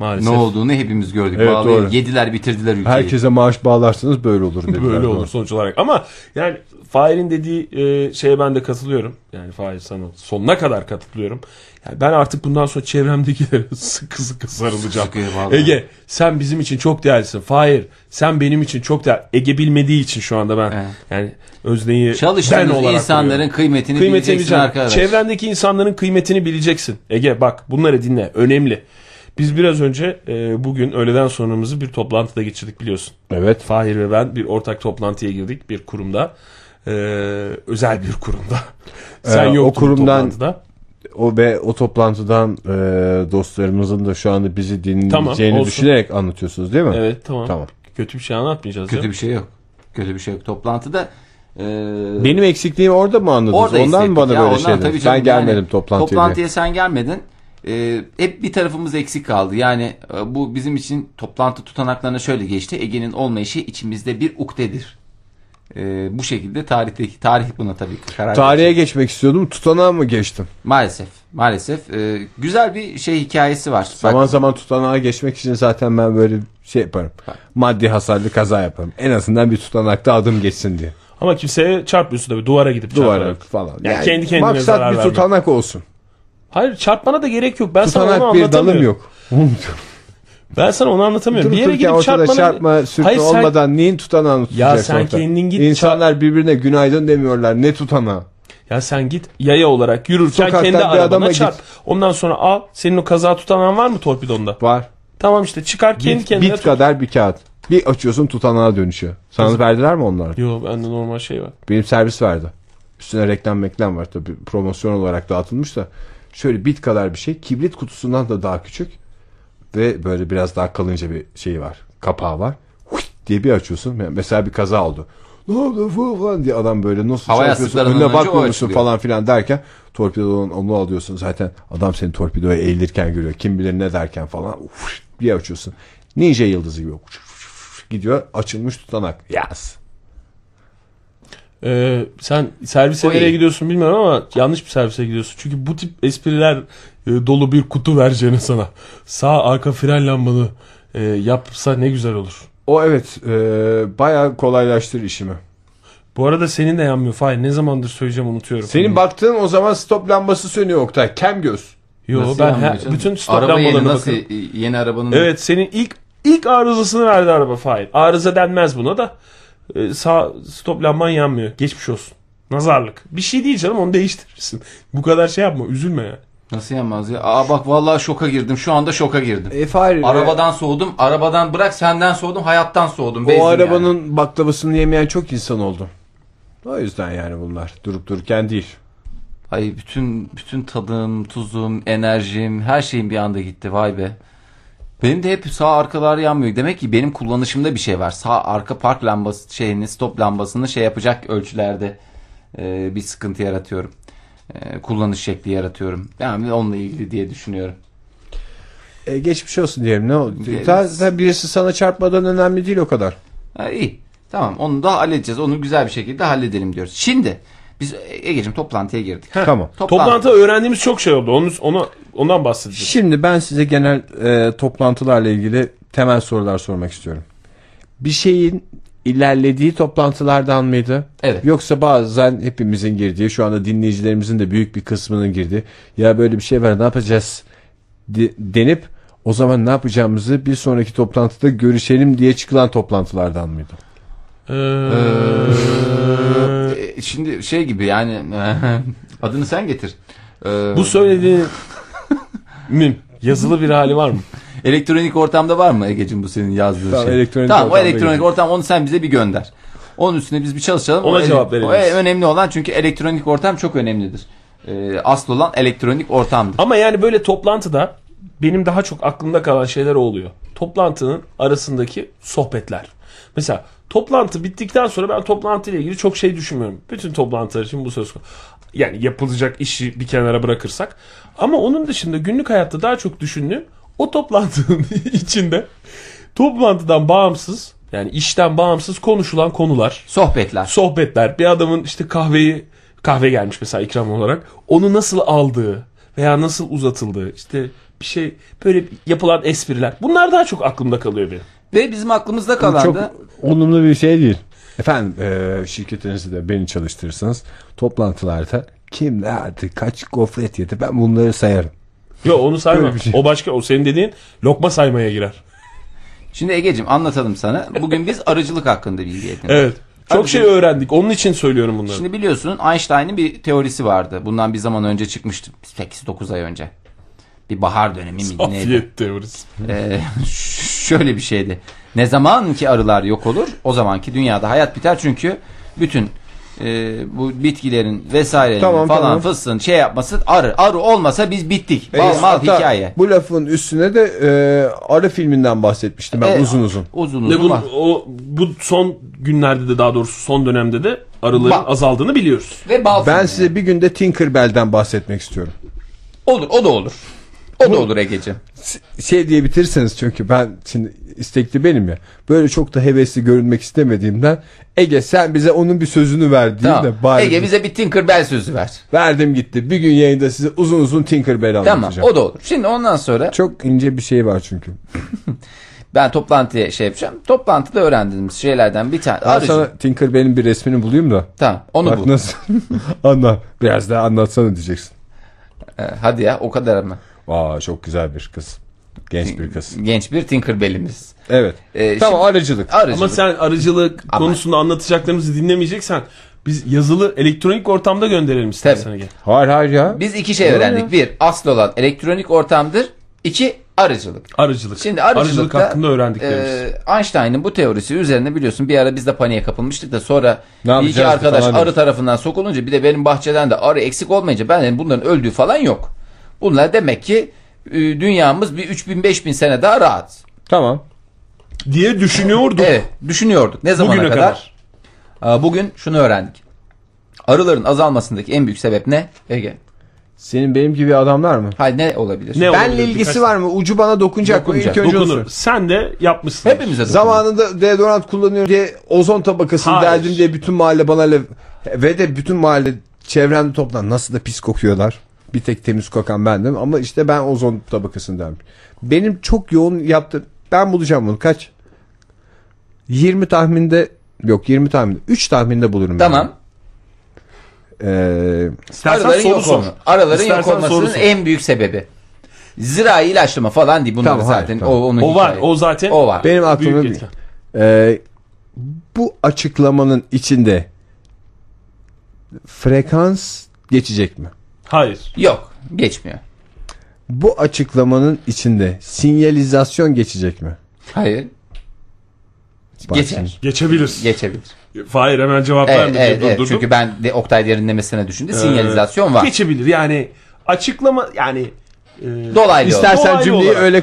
[SPEAKER 2] maalesef
[SPEAKER 3] olduğunu hepimiz gördük.
[SPEAKER 1] Evet,
[SPEAKER 3] Vallahi
[SPEAKER 1] doğru.
[SPEAKER 3] Yediler bitirdiler ülkeyi.
[SPEAKER 1] Herkese maaş bağlarsanız böyle olur dediler.
[SPEAKER 2] böyle olur sonuç olarak. Ama yani Fahir'in dediği e, şeye ben de katılıyorum. Yani Fahir sana sonuna kadar katılıyorum. Yani ben artık bundan sonra çevremdekilere sıkı sıkı sarılacağım.
[SPEAKER 3] Sıkıyor vallahi.
[SPEAKER 2] Ege sen bizim için çok değerlisin. Fahir sen benim için çok değerli. Ege bilmediği için şu anda ben
[SPEAKER 3] Evet.
[SPEAKER 2] yani Özne'yi ben
[SPEAKER 3] Çalıştığınız
[SPEAKER 2] olarak
[SPEAKER 3] insanların
[SPEAKER 2] görüyorum.
[SPEAKER 3] kıymetini,
[SPEAKER 2] Kıymetini
[SPEAKER 3] bileceksin
[SPEAKER 2] bileceksin.
[SPEAKER 3] arkadaş.
[SPEAKER 2] Çevrendeki insanların kıymetini bileceksin. Ege bak bunları dinle. Önemli. Biz biraz önce e, bugün öğleden sonramızı bir toplantıda geçirdik biliyorsun.
[SPEAKER 1] Evet.
[SPEAKER 2] Fahir ve ben bir ortak toplantıya girdik bir kurumda. E, özel bir kurumda. Sen
[SPEAKER 1] Ee, o
[SPEAKER 2] yoktun
[SPEAKER 1] kurumdan-
[SPEAKER 2] toplantıda.
[SPEAKER 1] O ve o toplantıdan e, dostlarımızın da şu anda bizi dinleyeceğini
[SPEAKER 2] Tamam, olsun.
[SPEAKER 1] düşünerek anlatıyorsunuz değil mi?
[SPEAKER 2] Evet tamam.
[SPEAKER 1] Tamam.
[SPEAKER 2] Kötü bir şey anlatmayacağız.
[SPEAKER 3] Kötü
[SPEAKER 2] ya.
[SPEAKER 3] bir şey yok. Kötü bir şey yok. Toplantıda e,
[SPEAKER 1] Benim eksikliğim orada mı anladınız? ondan mı
[SPEAKER 3] hissettik.
[SPEAKER 1] bana
[SPEAKER 3] Ya
[SPEAKER 1] böyle
[SPEAKER 3] ondan
[SPEAKER 1] şey
[SPEAKER 3] tabii
[SPEAKER 1] dediniz?
[SPEAKER 3] canım.
[SPEAKER 1] Ben gelmedim
[SPEAKER 3] Yani
[SPEAKER 1] toplantıya. diye.
[SPEAKER 3] Toplantıya sen gelmedin. E, hep bir tarafımız eksik kaldı. Yani e, bu bizim için toplantı tutanaklarına şöyle geçti. Ege'nin olmayışı içimizde bir ukdedir. E, bu şekilde tarihteki tarih buna tabii ki karar verecek.
[SPEAKER 1] Tarihe geçmek istiyordum. Tutanağa mı geçtim?
[SPEAKER 3] Maalesef. Maalesef. E, güzel bir şey hikayesi var. Bak,
[SPEAKER 1] Zaman zaman tutanağa geçmek için zaten ben böyle şey yaparım.
[SPEAKER 3] Bak.
[SPEAKER 1] Maddi hasarlı kaza yaparım. En azından bir tutanakta adım geçsin diye.
[SPEAKER 2] Ama kimseye çarpmıyorsun tabii. Duvara gidip
[SPEAKER 1] Duvara
[SPEAKER 2] çarparak.
[SPEAKER 1] falan.
[SPEAKER 2] Yani kendi kendine
[SPEAKER 1] maksat
[SPEAKER 2] zarar
[SPEAKER 1] bir
[SPEAKER 2] vermek.
[SPEAKER 1] tutanak olsun.
[SPEAKER 2] Hayır çarpmana da gerek yok. Ben sana onu
[SPEAKER 1] Tutanak bir dalım
[SPEAKER 2] anlatamıyorum.
[SPEAKER 1] yok.
[SPEAKER 2] Ben sana onu anlatamıyorum.
[SPEAKER 1] Durup
[SPEAKER 2] bir yere
[SPEAKER 1] dururken
[SPEAKER 2] gidip
[SPEAKER 1] ortada
[SPEAKER 2] çarpmana...
[SPEAKER 1] çarpma sürtme
[SPEAKER 2] Hayır, sen-
[SPEAKER 1] olmadan neyin tutanağını tutacaksın?
[SPEAKER 2] sen
[SPEAKER 1] orada?
[SPEAKER 2] kendin git
[SPEAKER 1] İnsanlar birbirine günaydın demiyorlar. Ne tutanağı?
[SPEAKER 2] Ya sen git yaya olarak yürürken
[SPEAKER 1] Sokaktan
[SPEAKER 2] kendi
[SPEAKER 1] bir adama
[SPEAKER 2] arabana
[SPEAKER 1] git.
[SPEAKER 2] çarp. Ondan sonra al. Senin o kaza tutanan var mı torpidonda?
[SPEAKER 1] Var.
[SPEAKER 2] Tamam işte çıkar kendi
[SPEAKER 1] Bit,
[SPEAKER 2] kendine
[SPEAKER 1] bit
[SPEAKER 2] tut.
[SPEAKER 1] kadar bir kağıt. Bir açıyorsun tutanağa dönüşüyor. Sana verdiler mi onları?
[SPEAKER 2] Yo bende normal şey var.
[SPEAKER 1] Benim servis verdi. Üstüne reklam meklam var tabii promosyon olarak dağıtılmış da. Şöyle bit kadar bir şey. Kibrit kutusundan da daha küçük. Ve böyle biraz daha kalınca bir şey var. Kapağı var. Huit diye bir açıyorsun. Yani Mesela bir kaza oldu. Ne oldu fu- falan diye adam böyle nasıl
[SPEAKER 3] Hava
[SPEAKER 1] çarpıyorsun
[SPEAKER 3] yastıklarından
[SPEAKER 1] önüne
[SPEAKER 3] önce o
[SPEAKER 1] bakmıyor musun
[SPEAKER 3] açılıyor.
[SPEAKER 1] falan filan derken torpidonun onu alıyorsun zaten adam seni torpidoya eğilirken görüyor kim bilir ne derken falan Huit diye açıyorsun ninja yıldızı gibi gidiyor açılmış tutanak yaz
[SPEAKER 2] Ee, sen servise
[SPEAKER 3] O
[SPEAKER 2] nereye
[SPEAKER 3] iyi.
[SPEAKER 2] gidiyorsun bilmiyorum ama yanlış bir servise gidiyorsun. Çünkü bu tip espriler e, dolu bir kutu vereceğine sana. Sağ arka fren lambanı e, yapsa ne güzel olur.
[SPEAKER 1] O evet e, bayağı kolaylaştır işimi.
[SPEAKER 2] Bu arada senin de yanmıyor Fahir. Ne zamandır söyleyeceğim unutuyorum.
[SPEAKER 1] Senin baktığın o zaman stop lambası sönüyor Oktay. Kem göz.
[SPEAKER 2] Yo,
[SPEAKER 3] nasıl
[SPEAKER 2] ben
[SPEAKER 3] yanmıyor
[SPEAKER 2] he-
[SPEAKER 3] canım?
[SPEAKER 2] bütün stop
[SPEAKER 3] Araba
[SPEAKER 2] lambalarına
[SPEAKER 3] yeni nasıl
[SPEAKER 2] bakıyorum.
[SPEAKER 3] e, yeni arabanın
[SPEAKER 2] Evet senin ilk ilk arızasını verdi araba Fahir. Arıza denmez buna da. Ee, sağ stop lamban yanmıyor. Geçmiş olsun. Nazarlık. Bir şey değil canım onu değiştirirsin. Bu kadar şey yapma üzülme ya.
[SPEAKER 3] nasıl yanmaz ya? Aa bak vallahi şoka girdim. Şu anda şoka girdim.
[SPEAKER 1] E Fahri,
[SPEAKER 3] Arabadan soğudum. Arabadan bırak senden soğudum. Hayattan soğudum.
[SPEAKER 1] e,
[SPEAKER 3] bezdim
[SPEAKER 1] o
[SPEAKER 3] yani.
[SPEAKER 1] arabanın baklavasını yemeyen çok insan oldu. O yüzden yani bunlar durup dururken değil.
[SPEAKER 3] Ay bütün bütün tadım, tuzum, enerjim, her şeyim bir anda gitti. Vay be. Benim de hep sağ arkalar yanmıyor. Demek ki benim kullanışımda bir şey var. Sağ arka park lambası şeyini, stop lambasını şey yapacak ölçülerde e, bir sıkıntı yaratıyorum. E, kullanış şekli yaratıyorum. Yani onunla ilgili diye düşünüyorum.
[SPEAKER 1] E, geçmiş olsun diyelim ne oldu?
[SPEAKER 3] Diyelim.
[SPEAKER 1] Zaten birisi sana çarpmadan önemli değil o kadar.
[SPEAKER 3] Ha, iyi. Tamam onu da halledeceğiz. Onu güzel bir şekilde halledelim diyoruz. Şimdi biz Ege'cim toplantıya girdik.
[SPEAKER 1] Tamam.
[SPEAKER 2] Toplantıda öğrendiğimiz çok şey oldu. Onu, ona, ondan bahsedeceğiz.
[SPEAKER 1] Şimdi ben size genel e, toplantılarla ilgili temel sorular sormak istiyorum. Bir şeyin ilerlediği toplantılardan mıydı?
[SPEAKER 3] Evet.
[SPEAKER 1] Yoksa bazen hepimizin girdiği, şu anda dinleyicilerimizin de büyük bir kısmının girdiği ya böyle bir şey var ne yapacağız de- denip o zaman ne yapacağımızı bir sonraki toplantıda görüşelim diye çıkılan toplantılardan mıydı?
[SPEAKER 2] Ee,
[SPEAKER 3] E, Şimdi şey gibi yani adını sen getir. E,
[SPEAKER 2] bu söylediğin mim yazılı bir hali var mı?
[SPEAKER 3] elektronik ortamda var mı Ege'cim bu senin yazdığın
[SPEAKER 1] Tamam,
[SPEAKER 3] şey?
[SPEAKER 1] elektronik
[SPEAKER 3] tamam o
[SPEAKER 1] ortamda
[SPEAKER 3] elektronik
[SPEAKER 1] gidelim.
[SPEAKER 3] ortam onu sen bize bir gönder. Onun üstüne biz bir çalışalım.
[SPEAKER 2] Ona
[SPEAKER 3] O ele-
[SPEAKER 2] cevap veririz.
[SPEAKER 3] O e- önemli olan çünkü elektronik ortam çok önemlidir. E, asıl olan elektronik ortamdır.
[SPEAKER 2] Ama yani böyle toplantıda benim daha çok aklımda kalan şeyler o oluyor. Toplantının arasındaki sohbetler. Mesela toplantı bittikten sonra ben toplantıyla ilgili çok şey düşünmüyorum. Bütün toplantılar için bu söz konusu. Yani yapılacak işi bir kenara bırakırsak. Ama onun dışında günlük hayatta daha çok düşündüğüm o toplantının içinde toplantıdan bağımsız yani işten bağımsız konuşulan konular
[SPEAKER 3] Sohbetler.
[SPEAKER 2] sohbetler. Bir adamın işte kahveyi kahve gelmiş mesela ikram olarak. Onu nasıl aldığı veya nasıl uzatıldığı işte bir şey böyle yapılan espriler. Bunlar daha çok aklımda kalıyor benim.
[SPEAKER 3] Ve bizim aklımızda kalan
[SPEAKER 1] Çok
[SPEAKER 3] da
[SPEAKER 1] olumlu bir şey değil. Efendim e, şirketinizi de beni çalıştırırsanız toplantılarda kim ne yaptı, kaç gofret yedi ben bunları sayarım.
[SPEAKER 2] Yok onu sayma.
[SPEAKER 1] Böyle bir şey.
[SPEAKER 2] O başka o senin dediğin lokma saymaya girer.
[SPEAKER 3] şimdi Ege'cim anlatalım sana. Bugün biz arıcılık hakkında bilgi edindik.
[SPEAKER 2] Evet. Çok
[SPEAKER 3] Hadi
[SPEAKER 2] şey
[SPEAKER 3] canım.
[SPEAKER 2] öğrendik. Onun için söylüyorum bunları.
[SPEAKER 3] Şimdi biliyorsun Einstein'ın bir teorisi vardı. Bundan bir zaman önce çıkmıştı. 8-9 ay önce. bir bahar dönemi miydi neydi?
[SPEAKER 2] Afiyet devrisi.
[SPEAKER 3] Ee, ş- şöyle bir şeydi. Ne zaman ki arılar yok olur o zamanki dünyada hayat biter çünkü bütün e, bu bitkilerin vesaire
[SPEAKER 1] Tamam,
[SPEAKER 3] falan
[SPEAKER 1] tamam.
[SPEAKER 3] fısın şey yapması arı arı olmasa biz bittik. Bal
[SPEAKER 1] E,
[SPEAKER 3] mal
[SPEAKER 1] hatta
[SPEAKER 3] hikaye.
[SPEAKER 1] Bu lafın üstüne de e, Arı filminden bahsetmiştim ben
[SPEAKER 3] E,
[SPEAKER 1] uzun uzun.
[SPEAKER 3] Uzun
[SPEAKER 2] Ve
[SPEAKER 3] uzun.
[SPEAKER 2] bu,
[SPEAKER 3] bak.
[SPEAKER 2] o, bu son günlerde de daha doğrusu son dönemde de arıların
[SPEAKER 3] Bak.
[SPEAKER 2] azaldığını biliyoruz.
[SPEAKER 3] Ve bal
[SPEAKER 1] Ben
[SPEAKER 3] filmi.
[SPEAKER 1] size bir günde Tinkerbell'den bahsetmek istiyorum.
[SPEAKER 3] olur o da olur. O da olur Ege'ciğim.
[SPEAKER 1] şey diye bitirseniz çünkü ben şimdi istekli benim ya. Böyle çok da hevesli görünmek istemediğimden Ege sen bize onun bir sözünü ver diye
[SPEAKER 3] Tamam.
[SPEAKER 1] de bari
[SPEAKER 3] Ege bize bir Tinkerbell sözü ver.
[SPEAKER 1] verdim gitti. Bir gün yayında size uzun uzun Tinkerbell
[SPEAKER 3] Tamam
[SPEAKER 1] anlatacağım.
[SPEAKER 3] o da olur. Şimdi ondan sonra
[SPEAKER 1] Çok ince bir şey var çünkü.
[SPEAKER 3] ben toplantıya şey yapacağım. Toplantıda öğrendiğimiz şeylerden bir tane.
[SPEAKER 1] Ben
[SPEAKER 3] Arıcı.
[SPEAKER 1] sana Tinkerbell'in bir resmini bulayım da.
[SPEAKER 3] Tamam onu
[SPEAKER 1] Bak
[SPEAKER 3] bul.
[SPEAKER 1] nasıl anlat. Biraz daha anlatsana diyeceksin.
[SPEAKER 3] Ee, hadi ya o kadar mı?
[SPEAKER 1] Aa çok güzel bir kız. Genç bir kız.
[SPEAKER 3] Genç bir Tinkerbell'imiz.
[SPEAKER 1] Evet.
[SPEAKER 3] Ee,
[SPEAKER 1] tamam
[SPEAKER 3] şimdi-
[SPEAKER 1] arıcılık.
[SPEAKER 3] Arıcı.
[SPEAKER 2] Ama sen arıcılık konusunda anlatacaklarımızı dinlemeyeceksen biz yazılı elektronik ortamda gönderelim istersen
[SPEAKER 3] Tabii.
[SPEAKER 2] Ege.
[SPEAKER 1] Hayır hayır ya.
[SPEAKER 3] Biz iki şey öğrendik. Bir asıl olan elektronik ortamdır. İki arıcılık.
[SPEAKER 2] Arıcılık.
[SPEAKER 3] Şimdi arıcılıkta,
[SPEAKER 2] arıcılık hakkında öğrendiklerimiz.
[SPEAKER 3] Ee, Einstein'ın bu teorisi üzerine biliyorsun bir ara biz de paniğe kapılmıştık da sonra
[SPEAKER 1] Ne
[SPEAKER 3] bir iki
[SPEAKER 1] yapacağız
[SPEAKER 3] arkadaş
[SPEAKER 1] falan
[SPEAKER 3] arı
[SPEAKER 1] demiş.
[SPEAKER 3] tarafından sokulunca bir de benim bahçeden de arı eksik olmayınca ben dedim bunların öldüğü falan yok. Bunlar demek ki e, dünyamız bir 3000-5000 sene daha rahat.
[SPEAKER 1] Tamam.
[SPEAKER 2] diye düşünüyorduk.
[SPEAKER 3] Evet düşünüyorduk. Ne zamana
[SPEAKER 2] Bugüne
[SPEAKER 3] kadar? Aa, Bugün şunu öğrendik. Arıların azalmasındaki en büyük sebep ne? Ege.
[SPEAKER 1] Senin benim gibi adamlar mı?
[SPEAKER 3] Hayır ne olabilir?
[SPEAKER 2] Ne olabilir?
[SPEAKER 1] Benle ilgisi
[SPEAKER 2] Birkaç-
[SPEAKER 1] var mı? Ucu bana dokunacak, mı?
[SPEAKER 3] Dokunacak.
[SPEAKER 1] İlk önce onu
[SPEAKER 2] Dokunur.
[SPEAKER 1] sor.
[SPEAKER 2] Sen de yapmışsın.
[SPEAKER 3] Hepimize dokunur.
[SPEAKER 1] Zamanında deodorant kullanıyorum diye ozon tabakasını
[SPEAKER 2] Hayır.
[SPEAKER 1] deldim diye bütün mahalle bana lev... Ve de bütün mahalle çevremde toplan. Nasıl da pis kokuyorlar. Bir tek temiz kokan bendim ama işte ben ozon tabakasını deldim. Benim çok yoğun yaptım. Ben bulacağım bunu. Kaç? 20 tahminde yok 20 tahminde 3 tahminde bulurum.
[SPEAKER 3] Tamam.
[SPEAKER 1] Yani. Ee,
[SPEAKER 2] İstersen
[SPEAKER 3] Arıların
[SPEAKER 2] soru
[SPEAKER 3] yok
[SPEAKER 2] sor.
[SPEAKER 3] olma- Araların
[SPEAKER 2] İstersen
[SPEAKER 3] yok olmasının
[SPEAKER 2] soru sor.
[SPEAKER 3] en büyük sebebi. Zirai ilaçlama falan değil bunlar
[SPEAKER 1] Tamam, hayır,
[SPEAKER 3] zaten.
[SPEAKER 1] tamam.
[SPEAKER 3] O, onun
[SPEAKER 2] O var.
[SPEAKER 3] hikaye.
[SPEAKER 2] O zaten.
[SPEAKER 3] O var.
[SPEAKER 1] benim aklımda
[SPEAKER 2] Büyük
[SPEAKER 1] bir-
[SPEAKER 2] etken.
[SPEAKER 1] Ee, bu açıklamanın içinde frekans geçecek mi?
[SPEAKER 2] Hayır.
[SPEAKER 3] Yok geçmiyor.
[SPEAKER 1] Bu açıklamanın içinde sinyalizasyon geçecek mi?
[SPEAKER 3] Hayır.
[SPEAKER 1] Bak
[SPEAKER 3] Geçer.
[SPEAKER 2] Geçebilir.
[SPEAKER 3] Geçebilir.
[SPEAKER 2] Hayır hemen cevap
[SPEAKER 3] Evet,
[SPEAKER 2] vermedi.
[SPEAKER 3] evet, evet.
[SPEAKER 2] Durdurdum.
[SPEAKER 3] Çünkü ben de Oktay derin demesine düşündü.
[SPEAKER 2] Ee,
[SPEAKER 3] Sinyalizasyon var.
[SPEAKER 2] Geçebilir yani açıklama yani e,
[SPEAKER 3] Dolaylı olarak.
[SPEAKER 1] İstersen
[SPEAKER 2] Dolaylı
[SPEAKER 1] cümleyi
[SPEAKER 2] olarak.
[SPEAKER 1] öyle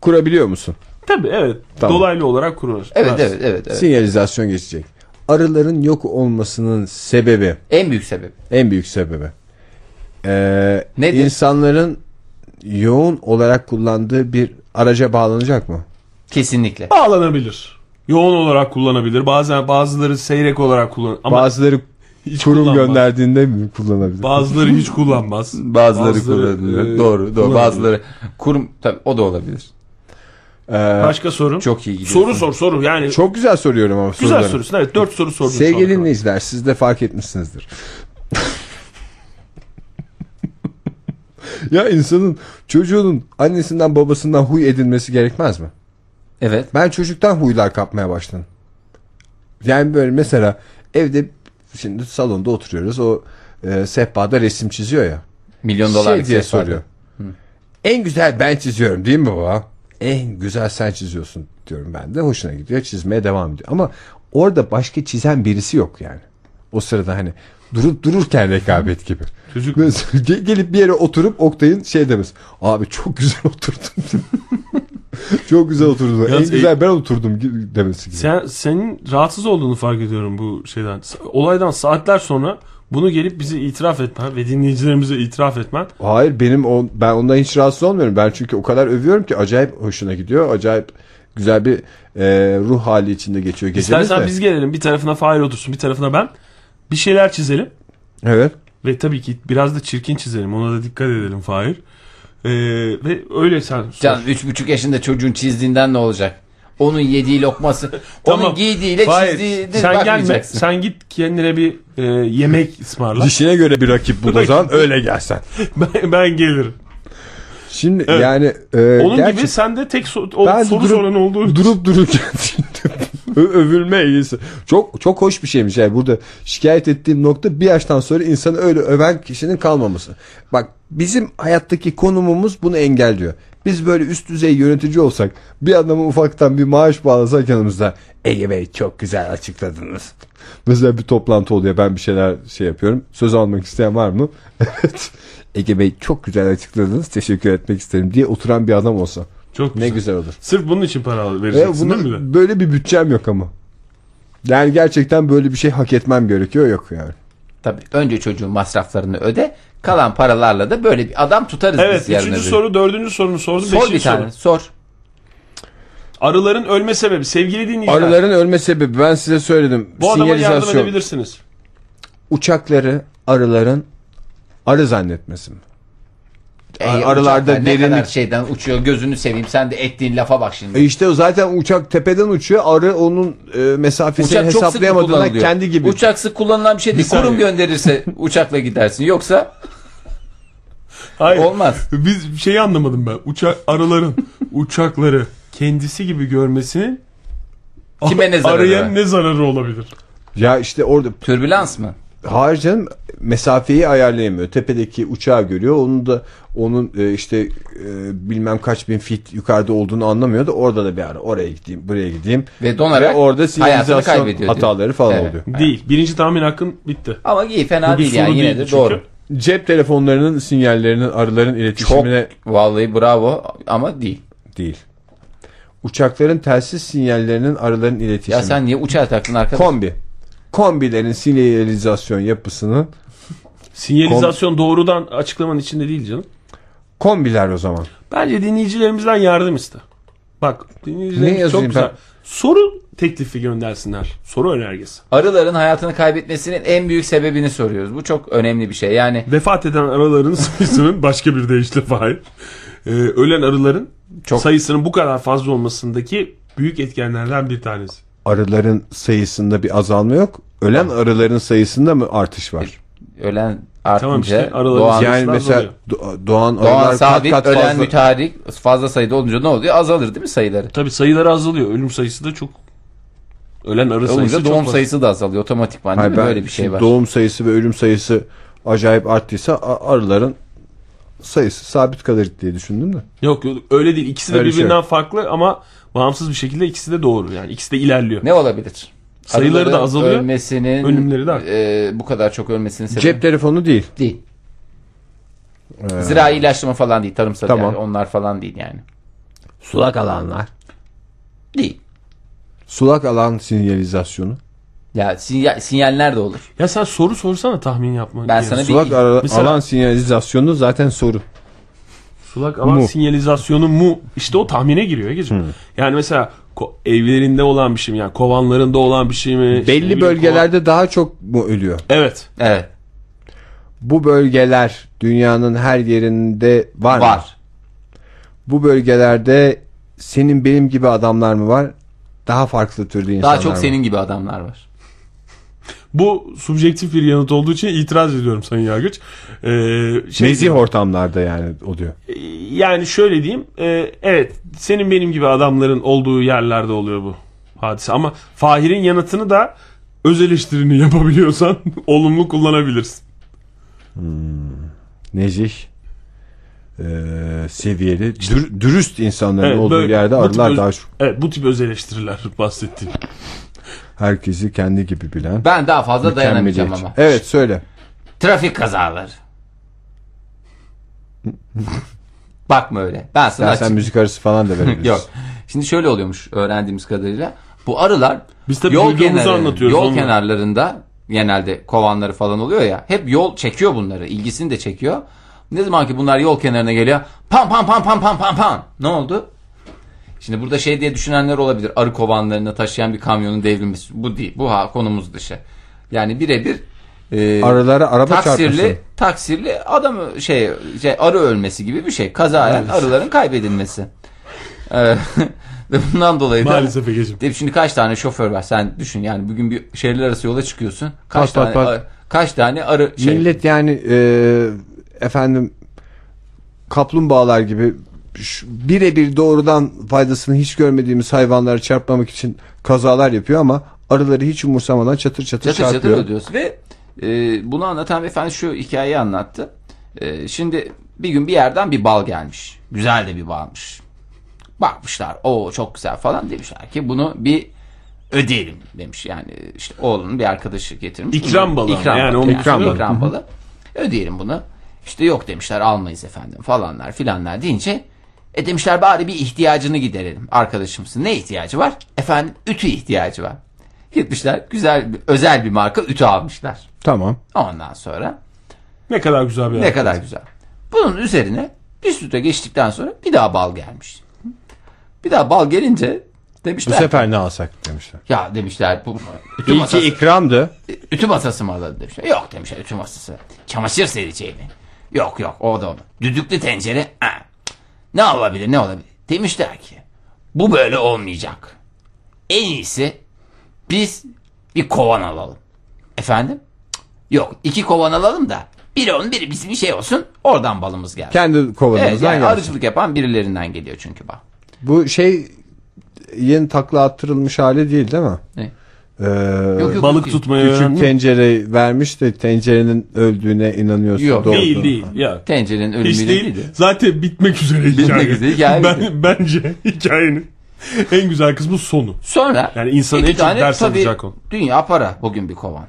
[SPEAKER 1] kurabiliyor musun?
[SPEAKER 2] tabii evet
[SPEAKER 1] Tamam.
[SPEAKER 2] dolaylı olarak kurulur.
[SPEAKER 3] Evet, evet, evet, evet.
[SPEAKER 1] Sinyalizasyon geçecek. Arıların yok olmasının sebebi,
[SPEAKER 3] En büyük sebep.
[SPEAKER 1] en büyük sebebi. Ee,
[SPEAKER 3] Nedir?
[SPEAKER 1] insanların yoğun olarak kullandığı bir araca bağlanacak mı?
[SPEAKER 3] Kesinlikle.
[SPEAKER 2] Bağlanabilir. Yoğun olarak kullanabilir. Bazen bazıları seyrek olarak kullan ama
[SPEAKER 1] Bazıları
[SPEAKER 2] hiç
[SPEAKER 1] kurum
[SPEAKER 2] kullanmaz.
[SPEAKER 1] gönderdiğinde mi kullanabilir?
[SPEAKER 2] Bazıları hiç kullanmaz. e,
[SPEAKER 3] doğru, doğru.
[SPEAKER 2] kullanabilir.
[SPEAKER 3] Bazıları kurum tabii o da olabilir.
[SPEAKER 1] Ee,
[SPEAKER 2] Başka soru.
[SPEAKER 3] Çok iyi gidiyor.
[SPEAKER 2] Soru sor soru yani
[SPEAKER 1] Çok güzel soruyorum ama
[SPEAKER 2] güzel
[SPEAKER 1] sorularım.
[SPEAKER 2] sorusun. Evet 4 soru sordun. şu ana
[SPEAKER 1] Sevgili
[SPEAKER 2] kadar.
[SPEAKER 1] dinleyiciler siz de fark etmişsinizdir. ya insanın çocuğunun annesinden babasından huy edinmesi gerekmez mi?
[SPEAKER 3] Evet.
[SPEAKER 1] Ben çocuktan huylar kapmaya başladım. Yani böyle mesela evde şimdi salonda oturuyoruz o e, sehpada resim çiziyor ya.
[SPEAKER 3] Milyon
[SPEAKER 1] Şey
[SPEAKER 3] dolarlık
[SPEAKER 1] diye
[SPEAKER 3] seferde.
[SPEAKER 1] soruyor. En güzel ben çiziyorum değil mi baba? En güzel sen çiziyorsun diyorum ben de. Hoşuna gidiyor. Çizmeye devam ediyor. Ama orada başka çizen birisi yok yani. O sırada hani durup dururken rekabet gibi.
[SPEAKER 2] Çocuk-
[SPEAKER 1] Mesela ge- gelip bir yere oturup Oktay'ın şey demesi. Abi çok güzel oturdum. çok güzel oturdum. en
[SPEAKER 2] Yalnız- e-
[SPEAKER 1] güzel ben oturdum gi- demesi gibi.
[SPEAKER 2] Sen, senin rahatsız olduğunu fark ediyorum bu şeyden. Sa- Olaydan saatler sonra bunu gelip bize itiraf etmen ve dinleyicilerimize itiraf etmen
[SPEAKER 1] Hayır benim on, ben ondan hiç rahatsız olmuyorum. Ben çünkü o kadar övüyorum ki acayip hoşuna gidiyor. Acayip güzel bir e, ruh hali içinde geçiyor gecemiz
[SPEAKER 2] İstersen
[SPEAKER 1] de.
[SPEAKER 2] biz gelelim. Bir tarafına Fahir otursun, bir tarafına ben. Bir şeyler çizelim.
[SPEAKER 1] Evet.
[SPEAKER 2] Ve tabii ki biraz da çirkin çizelim. Ona da dikkat edelim Fahir. Ee, ve öyle sen sor.
[SPEAKER 3] Canım üç buçuk yaşında çocuğun çizdiğinden ne olacak? Onun yediği lokması, onun
[SPEAKER 2] Tamam.
[SPEAKER 3] giydiğiyle
[SPEAKER 2] Fahir,
[SPEAKER 3] çizdiğine
[SPEAKER 2] sen gelme.
[SPEAKER 3] bakmayacaksın.
[SPEAKER 2] Sen git kendine bir e, yemek ısmarla.
[SPEAKER 1] Dişine göre bir rakip bul o zaman öyle gelsen.
[SPEAKER 2] ben, ben gelirim.
[SPEAKER 1] Şimdi
[SPEAKER 2] Evet.
[SPEAKER 1] yani e,
[SPEAKER 2] Onun
[SPEAKER 1] gerçi
[SPEAKER 2] gibi sen de tek so- o
[SPEAKER 1] Ben
[SPEAKER 2] soru
[SPEAKER 1] durup-
[SPEAKER 2] soran olduğu
[SPEAKER 1] durup dururken Ö- Övülme eğrisi. Çok çok hoş bir şeymiş. Yani burada şikayet ettiğim nokta bir yaştan sonra insanı öyle öven kişinin kalmaması. Bak bizim hayattaki konumumuz bunu engelliyor. Biz böyle üst düzey yönetici olsak bir adama ufaktan bir maaş bağlasak yanımızda Ege Bey çok güzel açıkladınız. Mesela bir toplantı oluyor ben bir şeyler şey yapıyorum. Söz almak isteyen var mı? Evet. Ege Bey çok güzel açıkladınız teşekkür etmek isterim diye oturan bir adam olsa.
[SPEAKER 2] Çok
[SPEAKER 1] Ne
[SPEAKER 2] güzel.
[SPEAKER 1] güzel olur.
[SPEAKER 2] Sırf bunun için para
[SPEAKER 1] Ve
[SPEAKER 2] vereceksin değil mi?
[SPEAKER 1] bunun böyle bir bütçem yok ama. Yani gerçekten böyle bir şey hak etmem gerekiyor yok yani.
[SPEAKER 3] Tabii önce çocuğun masraflarını öde. Kalan paralarla da böyle bir adam tutarız
[SPEAKER 2] Evet
[SPEAKER 3] biz yarın
[SPEAKER 2] üçüncü
[SPEAKER 3] öbür gün.
[SPEAKER 2] soru dördüncü sorunu sordu.
[SPEAKER 3] Sor
[SPEAKER 2] beşinci
[SPEAKER 3] bir tane.
[SPEAKER 2] soru.
[SPEAKER 3] Sor.
[SPEAKER 2] Arıların ölme sebebi sevgili dinleyiciler.
[SPEAKER 1] Arıların ölme sebebi ben size söyledim.
[SPEAKER 2] bu adama yardım
[SPEAKER 1] Sinyalizasyon.
[SPEAKER 2] edebilirsiniz.
[SPEAKER 1] Uçakları arıların arı zannetmesi mi?
[SPEAKER 3] Ey,
[SPEAKER 1] Aralarda
[SPEAKER 3] uçaklar Ne kadar
[SPEAKER 1] derinlik-
[SPEAKER 3] şeyden uçuyor gözünü seveyim. Sen de ettiğin lafa bak şimdi.
[SPEAKER 1] E işte zaten uçak tepeden uçuyor. Arı onun e, mesafesini
[SPEAKER 3] Uçak çok sık mı
[SPEAKER 1] hesaplayamadığından
[SPEAKER 3] kullanılıyor?
[SPEAKER 1] kendi gibi.
[SPEAKER 3] Uçak sık kullanılan bir şey değil.
[SPEAKER 2] saniye.
[SPEAKER 3] Kurum gönderirse uçakla gidersin. Yoksa
[SPEAKER 2] Hayır.
[SPEAKER 3] Olmaz.
[SPEAKER 2] Biz şeyi anlamadım ben. Uçak arıların uçakları kendisi gibi görmesinin
[SPEAKER 3] Kime ne zararı
[SPEAKER 2] arıya
[SPEAKER 3] var?
[SPEAKER 2] ne zararı olabilir?
[SPEAKER 1] Ya işte orada
[SPEAKER 3] türbülans mı?
[SPEAKER 1] Hayır canım mesafeyi ayarlayamıyor. Tepedeki uçağı görüyor. Onun da onun e, işte e, bilmem kaç bin fit yukarıda olduğunu anlamıyor da orada da bir ara oraya gideyim buraya gideyim.
[SPEAKER 3] Ve donarak
[SPEAKER 1] Ve orada
[SPEAKER 3] hayatını
[SPEAKER 1] sinyalizasyon
[SPEAKER 3] kaybediyor. diyor.
[SPEAKER 1] hataları falan
[SPEAKER 3] Evet.
[SPEAKER 1] oluyor.
[SPEAKER 2] Değil. Birinci tahmin hakkın bitti.
[SPEAKER 3] Ama iyi fena
[SPEAKER 2] Bu bir
[SPEAKER 3] değil
[SPEAKER 2] soru
[SPEAKER 3] yani yine
[SPEAKER 2] değildi
[SPEAKER 3] de
[SPEAKER 2] çünkü.
[SPEAKER 3] doğru.
[SPEAKER 1] Cep telefonlarının sinyallerinin arıların
[SPEAKER 3] Çok
[SPEAKER 1] iletişimine
[SPEAKER 3] vallahi bravo ama değil.
[SPEAKER 1] değil. Uçakların telsiz sinyallerinin arıların iletişimi.
[SPEAKER 3] Ya sen niye uçağa taktın arkadaş?
[SPEAKER 1] Kombi. Kombilerin sinyalizasyon yapısının
[SPEAKER 2] Sinyalizasyon doğrudan açıklamanın içinde değil canım.
[SPEAKER 1] kombiler o zaman.
[SPEAKER 2] Bence dinleyicilerimizden yardım iste. Bak
[SPEAKER 1] Ne
[SPEAKER 2] dinleyicilerimiz
[SPEAKER 1] yazayım
[SPEAKER 2] çok güzel.
[SPEAKER 1] ben?
[SPEAKER 2] Soru teklifi göndersinler. Soru önergesi.
[SPEAKER 3] Arıların hayatını kaybetmesinin en büyük sebebini soruyoruz. Bu çok önemli bir şey. Yani
[SPEAKER 2] Vefat eden arıların sayısının başka bir deyişle hayır. ölen arıların
[SPEAKER 3] Çok-
[SPEAKER 2] sayısının bu kadar fazla olmasındaki büyük etkenlerden bir tanesi.
[SPEAKER 1] Arıların sayısında bir azalma yok. Ölen arıların sayısında mı artış var?
[SPEAKER 3] E, ölen artınca
[SPEAKER 2] Tamam işte, araları
[SPEAKER 3] doğan,
[SPEAKER 2] ziyaret-
[SPEAKER 1] Yani
[SPEAKER 2] Arılar
[SPEAKER 1] mesela
[SPEAKER 2] azalıyor.
[SPEAKER 1] Do- Doğan
[SPEAKER 3] doğan
[SPEAKER 1] arılar
[SPEAKER 3] sabit,
[SPEAKER 1] kat kat
[SPEAKER 3] ölen
[SPEAKER 1] fazla.
[SPEAKER 3] müteharik fazla sayıda olunca ne oluyor? Azalır değil mi sayıları?
[SPEAKER 2] Tabii sayıları azalıyor. Ölüm sayısı da çok. Ölen arı sayısı
[SPEAKER 3] Olunca
[SPEAKER 2] çok
[SPEAKER 3] doğum
[SPEAKER 2] fazla.
[SPEAKER 3] sayısı da azalıyor otomatikman değil
[SPEAKER 1] Hayır,
[SPEAKER 3] mi?
[SPEAKER 1] ben
[SPEAKER 3] Böyle bir şey
[SPEAKER 1] şimdi
[SPEAKER 3] var.
[SPEAKER 1] Doğum sayısı ve ölüm sayısı acayip arttıysa a- arıların sayısı sabit kalır diye düşündüm de.
[SPEAKER 2] Yok yok, öyle değil. İkisi de
[SPEAKER 1] Öyle bir şey
[SPEAKER 2] birbirinden farklı ama bağımsız bir şekilde ikisi de doğru. Yani ikisi de ilerliyor.
[SPEAKER 3] Ne olabilir?
[SPEAKER 2] Sayıları da
[SPEAKER 3] Arıların
[SPEAKER 2] azalıyor,
[SPEAKER 3] Ölmesinin,
[SPEAKER 2] ölümleri de artıyor.
[SPEAKER 3] e, bu kadar çok ölmesinin sebebi
[SPEAKER 1] Cep telefonu değil.
[SPEAKER 3] değil. Zirai ilaçlama falan değil. Tarımsal
[SPEAKER 1] Ee, Tamam.
[SPEAKER 3] yani. Onlar falan değil yani.
[SPEAKER 1] Sulak alanlar.
[SPEAKER 3] Değil.
[SPEAKER 1] Sulak alan sinyalizasyonu.
[SPEAKER 3] Ya sinyal, sinyaller de olur.
[SPEAKER 2] Ya sen soru sorsana tahmin yapma.
[SPEAKER 3] Ben
[SPEAKER 2] Yani
[SPEAKER 3] sana bir-
[SPEAKER 1] Sulak ara-
[SPEAKER 2] Mesela-
[SPEAKER 1] alan sinyalizasyonu zaten soru.
[SPEAKER 2] Sulak alan
[SPEAKER 1] Mu.
[SPEAKER 2] sinyalizasyonu mu? İşte o tahmine giriyor Egeciğim. Yani mesela ko- evlerinde olan bir şey mi? Yani kovanlarında olan bir şey mi? İşte ne
[SPEAKER 1] Belli
[SPEAKER 2] bileyim,
[SPEAKER 1] bölgelerde daha çok mu ölüyor?
[SPEAKER 2] kovan- Evet.
[SPEAKER 3] Evet.
[SPEAKER 1] Bu bölgeler dünyanın her yerinde var, mı?
[SPEAKER 3] Var.
[SPEAKER 1] Bu bölgelerde senin benim gibi adamlar mı var? Daha farklı türde insanlar
[SPEAKER 3] Daha çok
[SPEAKER 1] mı?
[SPEAKER 3] senin gibi adamlar var.
[SPEAKER 2] Bu subjektif bir yanıt olduğu için itiraz ediyorum Sayın Yargıç. Ee, şey- e,
[SPEAKER 1] Nezih ortamlarda yani oluyor.
[SPEAKER 2] Yani şöyle diyeyim. e, evet. Senin benim gibi adamların olduğu yerlerde oluyor bu hadise. Ama Fahir'in yanıtını da öz eleştirini yapabiliyorsan olumlu kullanabilirsin.
[SPEAKER 1] nezih eee, seviyeli dür- dürüst insanların
[SPEAKER 2] Evet,
[SPEAKER 1] olduğu
[SPEAKER 2] böyle-
[SPEAKER 1] yerde
[SPEAKER 2] bu tip
[SPEAKER 1] arılar
[SPEAKER 2] öz-
[SPEAKER 1] daha çok
[SPEAKER 2] Evet bu tip öz eleştiriler bahsettiğim.
[SPEAKER 1] herkesi kendi gibi bilen
[SPEAKER 3] Ben daha fazla dayanamayacağım
[SPEAKER 1] mükemmeliyetçi.
[SPEAKER 3] ama.
[SPEAKER 1] Evet söyle.
[SPEAKER 3] Trafik kazaları. Bakma öyle. Ben sana
[SPEAKER 1] Ben sen
[SPEAKER 3] açık-
[SPEAKER 1] müzik arası falan da verebilirsin.
[SPEAKER 3] Yok. Şimdi şöyle oluyormuş öğrendiğimiz kadarıyla. Bu arılar
[SPEAKER 2] Biz tabii
[SPEAKER 3] yol,
[SPEAKER 2] duyduğumuzu
[SPEAKER 3] kenarı-
[SPEAKER 2] anlatıyoruz
[SPEAKER 3] yol
[SPEAKER 2] onunla.
[SPEAKER 3] kenarlarında genelde kovanları falan oluyor ya. Hep yol çekiyor bunları. ilgisini de çekiyor. Ne zaman ki bunlar yol kenarına geliyor. Pam pam pam pam pam pam pam. Ne oldu? Şimdi burada şey diye düşünenler olabilir. Arı kovanlarını taşıyan bir kamyonun devrilmesi. Bu değil. Bu ha, konumuz dışı. Yani birebir e,
[SPEAKER 1] Arılara araba çarpmasın.
[SPEAKER 3] taksirli, taksirli adam şey, şey arı ölmesi gibi bir şey. Kazayen arıların kaybedilmesi. Ee, Ve bundan dolayı da
[SPEAKER 2] Maalesef Egeciğim.
[SPEAKER 3] Tabii şimdi kaç tane şoför var sen düşün yani bugün bir şehirler arası yola çıkıyorsun. Kaç
[SPEAKER 1] Bak,
[SPEAKER 3] tane
[SPEAKER 1] bak, bak.
[SPEAKER 3] arı- kaç tane arı şey
[SPEAKER 1] Millet yani eee, efendim e, kaplumbağalar gibi şu- birebir doğrudan faydasını hiç görmediğimiz hayvanlara çarpmamak için kazalar yapıyor ama arıları hiç umursamadan çatır çatır,
[SPEAKER 3] Çatır
[SPEAKER 1] çarpıyor.
[SPEAKER 3] çatır ödüyoruz. Ve e, bunu anlatan beyefendi şu hikayeyi anlattı. E, şimdi bir gün bir yerden bir bal gelmiş. Güzel de bir balmış. Bakmışlar o çok güzel falan demişler ki bunu bir ödeyelim demiş. Yani işte oğlunun bir arkadaşı getirmiş.
[SPEAKER 2] İkram balı ama yani onun
[SPEAKER 1] ikram balı.
[SPEAKER 3] ikram balı. Ödeyelim bunu. İşte yok demişler almayız efendim falanlar filanlar deyince e demişler bari bir ihtiyacını giderelim arkadaşımsın. Ne ihtiyacı var? Efendim ütü ihtiyacı var. Gitmişler güzel bir- özel bir marka ütü almışlar.
[SPEAKER 1] Tamam.
[SPEAKER 3] Ondan sonra
[SPEAKER 2] Ne kadar güzel bir
[SPEAKER 3] ne kadar güzel. Bunun üzerine bir süre geçtikten sonra bir daha bal gelmiş. Bir daha bal gelince
[SPEAKER 1] Bu
[SPEAKER 3] demişler
[SPEAKER 1] sefer ne alsak demişler.
[SPEAKER 3] ya demişler bu ütü
[SPEAKER 1] İyi ki
[SPEAKER 3] masası,
[SPEAKER 1] ikramdı.
[SPEAKER 3] ütü masası mı alalım demişler. Yok demişler ütü masası. Çamaşır sereceği mi? Yok yok o da olmaz. Düdüklü tencere ha. ne olabilir ne olabilir. Demişler ki bu böyle olmayacak. En iyisi biz bir kovan alalım. Efendim? Cık, Yok iki kovan alalım da biri onun biri bizim şey olsun oradan balımız gelsin.
[SPEAKER 1] Kendi
[SPEAKER 3] Evet,
[SPEAKER 1] kovanımızdan
[SPEAKER 3] yani
[SPEAKER 1] gelsin.
[SPEAKER 3] arıcılık yapan birilerinden geliyor çünkü bak.
[SPEAKER 1] Bu şey yeni takla attırılmış hali değil değil mi?
[SPEAKER 3] Ne?
[SPEAKER 1] Ee,
[SPEAKER 3] Yok, Ee, yok,
[SPEAKER 2] Balık
[SPEAKER 3] yok.
[SPEAKER 2] tutmaya öğren-
[SPEAKER 1] Küçük tencere vermiş de tencerenin öldüğüne inanıyorsun.
[SPEAKER 3] Yok,
[SPEAKER 1] doğru.
[SPEAKER 2] Değil değil. Ya.
[SPEAKER 3] Tencerenin
[SPEAKER 2] Hiç
[SPEAKER 3] ölümüyle
[SPEAKER 2] değil.
[SPEAKER 3] değil.
[SPEAKER 2] Zaten bitmek üzere hikaye.
[SPEAKER 3] üzere hikaye bitti.
[SPEAKER 2] ben, bence hikayenin en güzel kısmı sonu.
[SPEAKER 3] Sonra
[SPEAKER 2] Yani insanın
[SPEAKER 3] iki
[SPEAKER 2] en çok
[SPEAKER 3] tane
[SPEAKER 2] ders
[SPEAKER 3] tabii
[SPEAKER 2] alacak o.
[SPEAKER 3] Dünya para bugün bir kovan.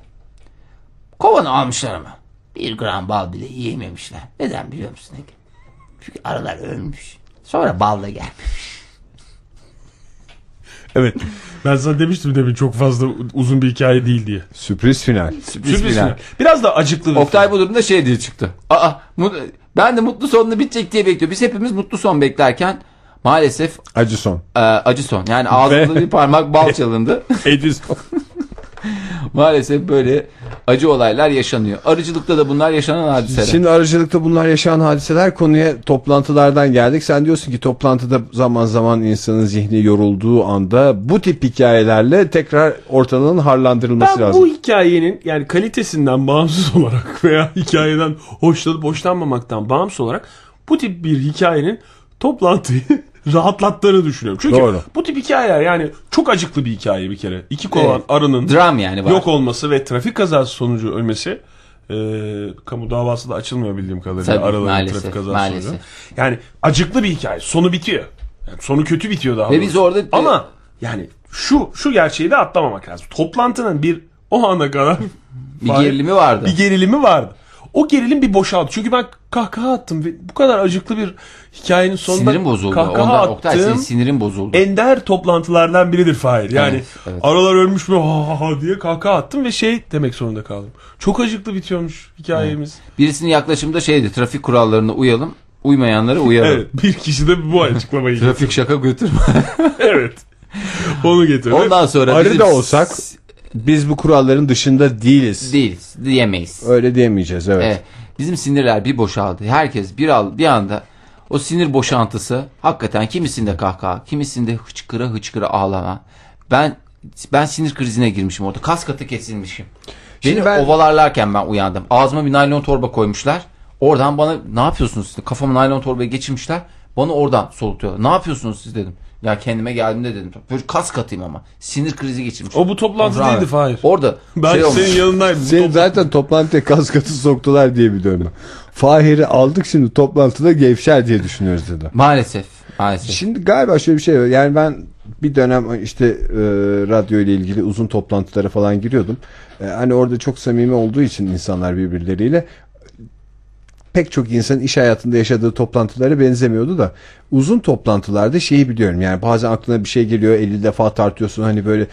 [SPEAKER 3] Kovanı almışlar ama. Bir gram bal bile yiyememişler. Neden biliyor musun Ege? Çünkü arılar ölmüş. Sonra bal da gelmiş.
[SPEAKER 2] Evet. Ben sana demiştim demin çok fazla uzun bir hikaye değil diye.
[SPEAKER 1] Sürpriz final.
[SPEAKER 2] Sürpriz final. Biraz da acıklı bir
[SPEAKER 3] Oktay bu durumda şey diye çıktı. Aa, mu- ben de mutlu sonunu bitecek diye bekliyorum. Biz hepimiz mutlu son beklerken maalesef
[SPEAKER 1] Acı son.
[SPEAKER 3] e, acı son. Yani ağzımda bir parmak bal çalındı.
[SPEAKER 2] Edison.
[SPEAKER 3] Maalesef böyle acı olaylar yaşanıyor. Arıcılıkta da bunlar yaşanan hadiseler.
[SPEAKER 1] Şimdi aracılıkta bunlar yaşanan hadiseler konuya toplantılardan geldik. Sen diyorsun ki toplantıda zaman zaman insanın zihni yorulduğu anda bu tip hikayelerle tekrar ortalığın harlandırılması
[SPEAKER 2] Ben
[SPEAKER 1] lazım.
[SPEAKER 2] bu hikayenin yani kalitesinden bağımsız olarak veya hikayeden hoşlanıp hoşlanmamaktan bağımsız olarak bu tip bir hikayenin toplantıyı rahatlattığını düşünüyorum. Çünkü
[SPEAKER 1] Doğru.
[SPEAKER 2] bu tip hikayeler yani çok acıklı bir hikaye bir kere. İki kovan
[SPEAKER 3] Evet.
[SPEAKER 2] arının
[SPEAKER 3] Dram yani var.
[SPEAKER 2] yok olması ve trafik kazası sonucu ölmesi e, kamu davası da açılmıyor bildiğim kadarıyla
[SPEAKER 3] Tabii,
[SPEAKER 2] araların
[SPEAKER 3] maalesef,
[SPEAKER 2] trafik kazası
[SPEAKER 3] maalesef.
[SPEAKER 2] sonucu. Yani acıklı bir hikaye. Sonu bitiyor. Yani sonu kötü bitiyor daha.
[SPEAKER 3] Ve
[SPEAKER 2] doğrusu.
[SPEAKER 3] biz orada-
[SPEAKER 2] ama yani şu şu gerçeği de atlamamak lazım. Toplantının bir o ana kadar
[SPEAKER 3] bir gerilimi vardı.
[SPEAKER 2] bir gerilimi vardı. O gerilim bir boşaldı. Çünkü ben kahkaha attım ve bu kadar acıklı bir hikayenin sonunda
[SPEAKER 3] Sinirim bozuldu.
[SPEAKER 2] kahkaha
[SPEAKER 3] Ondan
[SPEAKER 2] attığım E-
[SPEAKER 3] Oktay senin sinirin bozuldu.
[SPEAKER 2] ender toplantılardan biridir Fahir. Yani
[SPEAKER 3] Evet, evet.
[SPEAKER 2] aralar ölmüş mü ha ha ha diye kahkaha attım ve şey demek zorunda kaldım. Çok acıklı bitiyormuş hikayemiz.
[SPEAKER 3] Birisinin yaklaşımda şeydi trafik kurallarına uyalım uymayanlara uyaralım.
[SPEAKER 2] Evet, bir kişi de bu açıklamayı getirdi.
[SPEAKER 3] Trafik şaka götürme.
[SPEAKER 2] evet. Onu getirdi.
[SPEAKER 3] Ondan sonra
[SPEAKER 1] Arı
[SPEAKER 3] bizim
[SPEAKER 1] da olsak biz bu kuralların dışında değiliz.
[SPEAKER 3] değiliz diyemeyiz.
[SPEAKER 1] Öyle diyemeyeceğiz evet.
[SPEAKER 3] Evet. Bizim sinirler bir boşaldı. Herkes bir al bir anda o sinir boşantısı hakikaten kimisinde kahkaha, kimisinde hıçkıra hıçkıra ağlama. Ben ben sinir krizine girmişim orada. Kas katı kesilmişim.
[SPEAKER 1] Şimdi
[SPEAKER 3] Beni
[SPEAKER 1] ben-
[SPEAKER 3] ovalarlarken ben uyandım. Ağzıma bir naylon torba koymuşlar. Oradan bana ne yapıyorsunuz siz? Kafamı naylon torbaya geçirmişler. Bana oradan solutuyorlar. Ne yapıyorsunuz siz dedim. Ya kendime geldiğimde dedim. Böyle kas katıyım ama. Sinir krizi geçirmiş.
[SPEAKER 2] O bu toplantı değildi Fahir.
[SPEAKER 3] Orada
[SPEAKER 2] ben
[SPEAKER 3] şey olmuş.
[SPEAKER 2] senin yanındaydım.
[SPEAKER 1] Seni
[SPEAKER 2] Topla-
[SPEAKER 1] zaten toplantıya kaskatı soktular diye biliyorum ben. Fahir'i aldık şimdi toplantıda gevşer diye düşünüyoruz dedi.
[SPEAKER 3] Maalesef. Maalesef.
[SPEAKER 1] Şimdi galiba şöyle bir şey var. Yani ben bir dönem işte e, radyo ile ilgili uzun toplantılara falan giriyordum. E, hani orada çok samimi olduğu için insanlar birbirleriyle pek çok insanın iş hayatında yaşadığı toplantılara benzemiyordu da uzun toplantılarda şeyi biliyorum. Yani bazen aklına bir şey geliyor 50 defa tartıyorsun hani böyle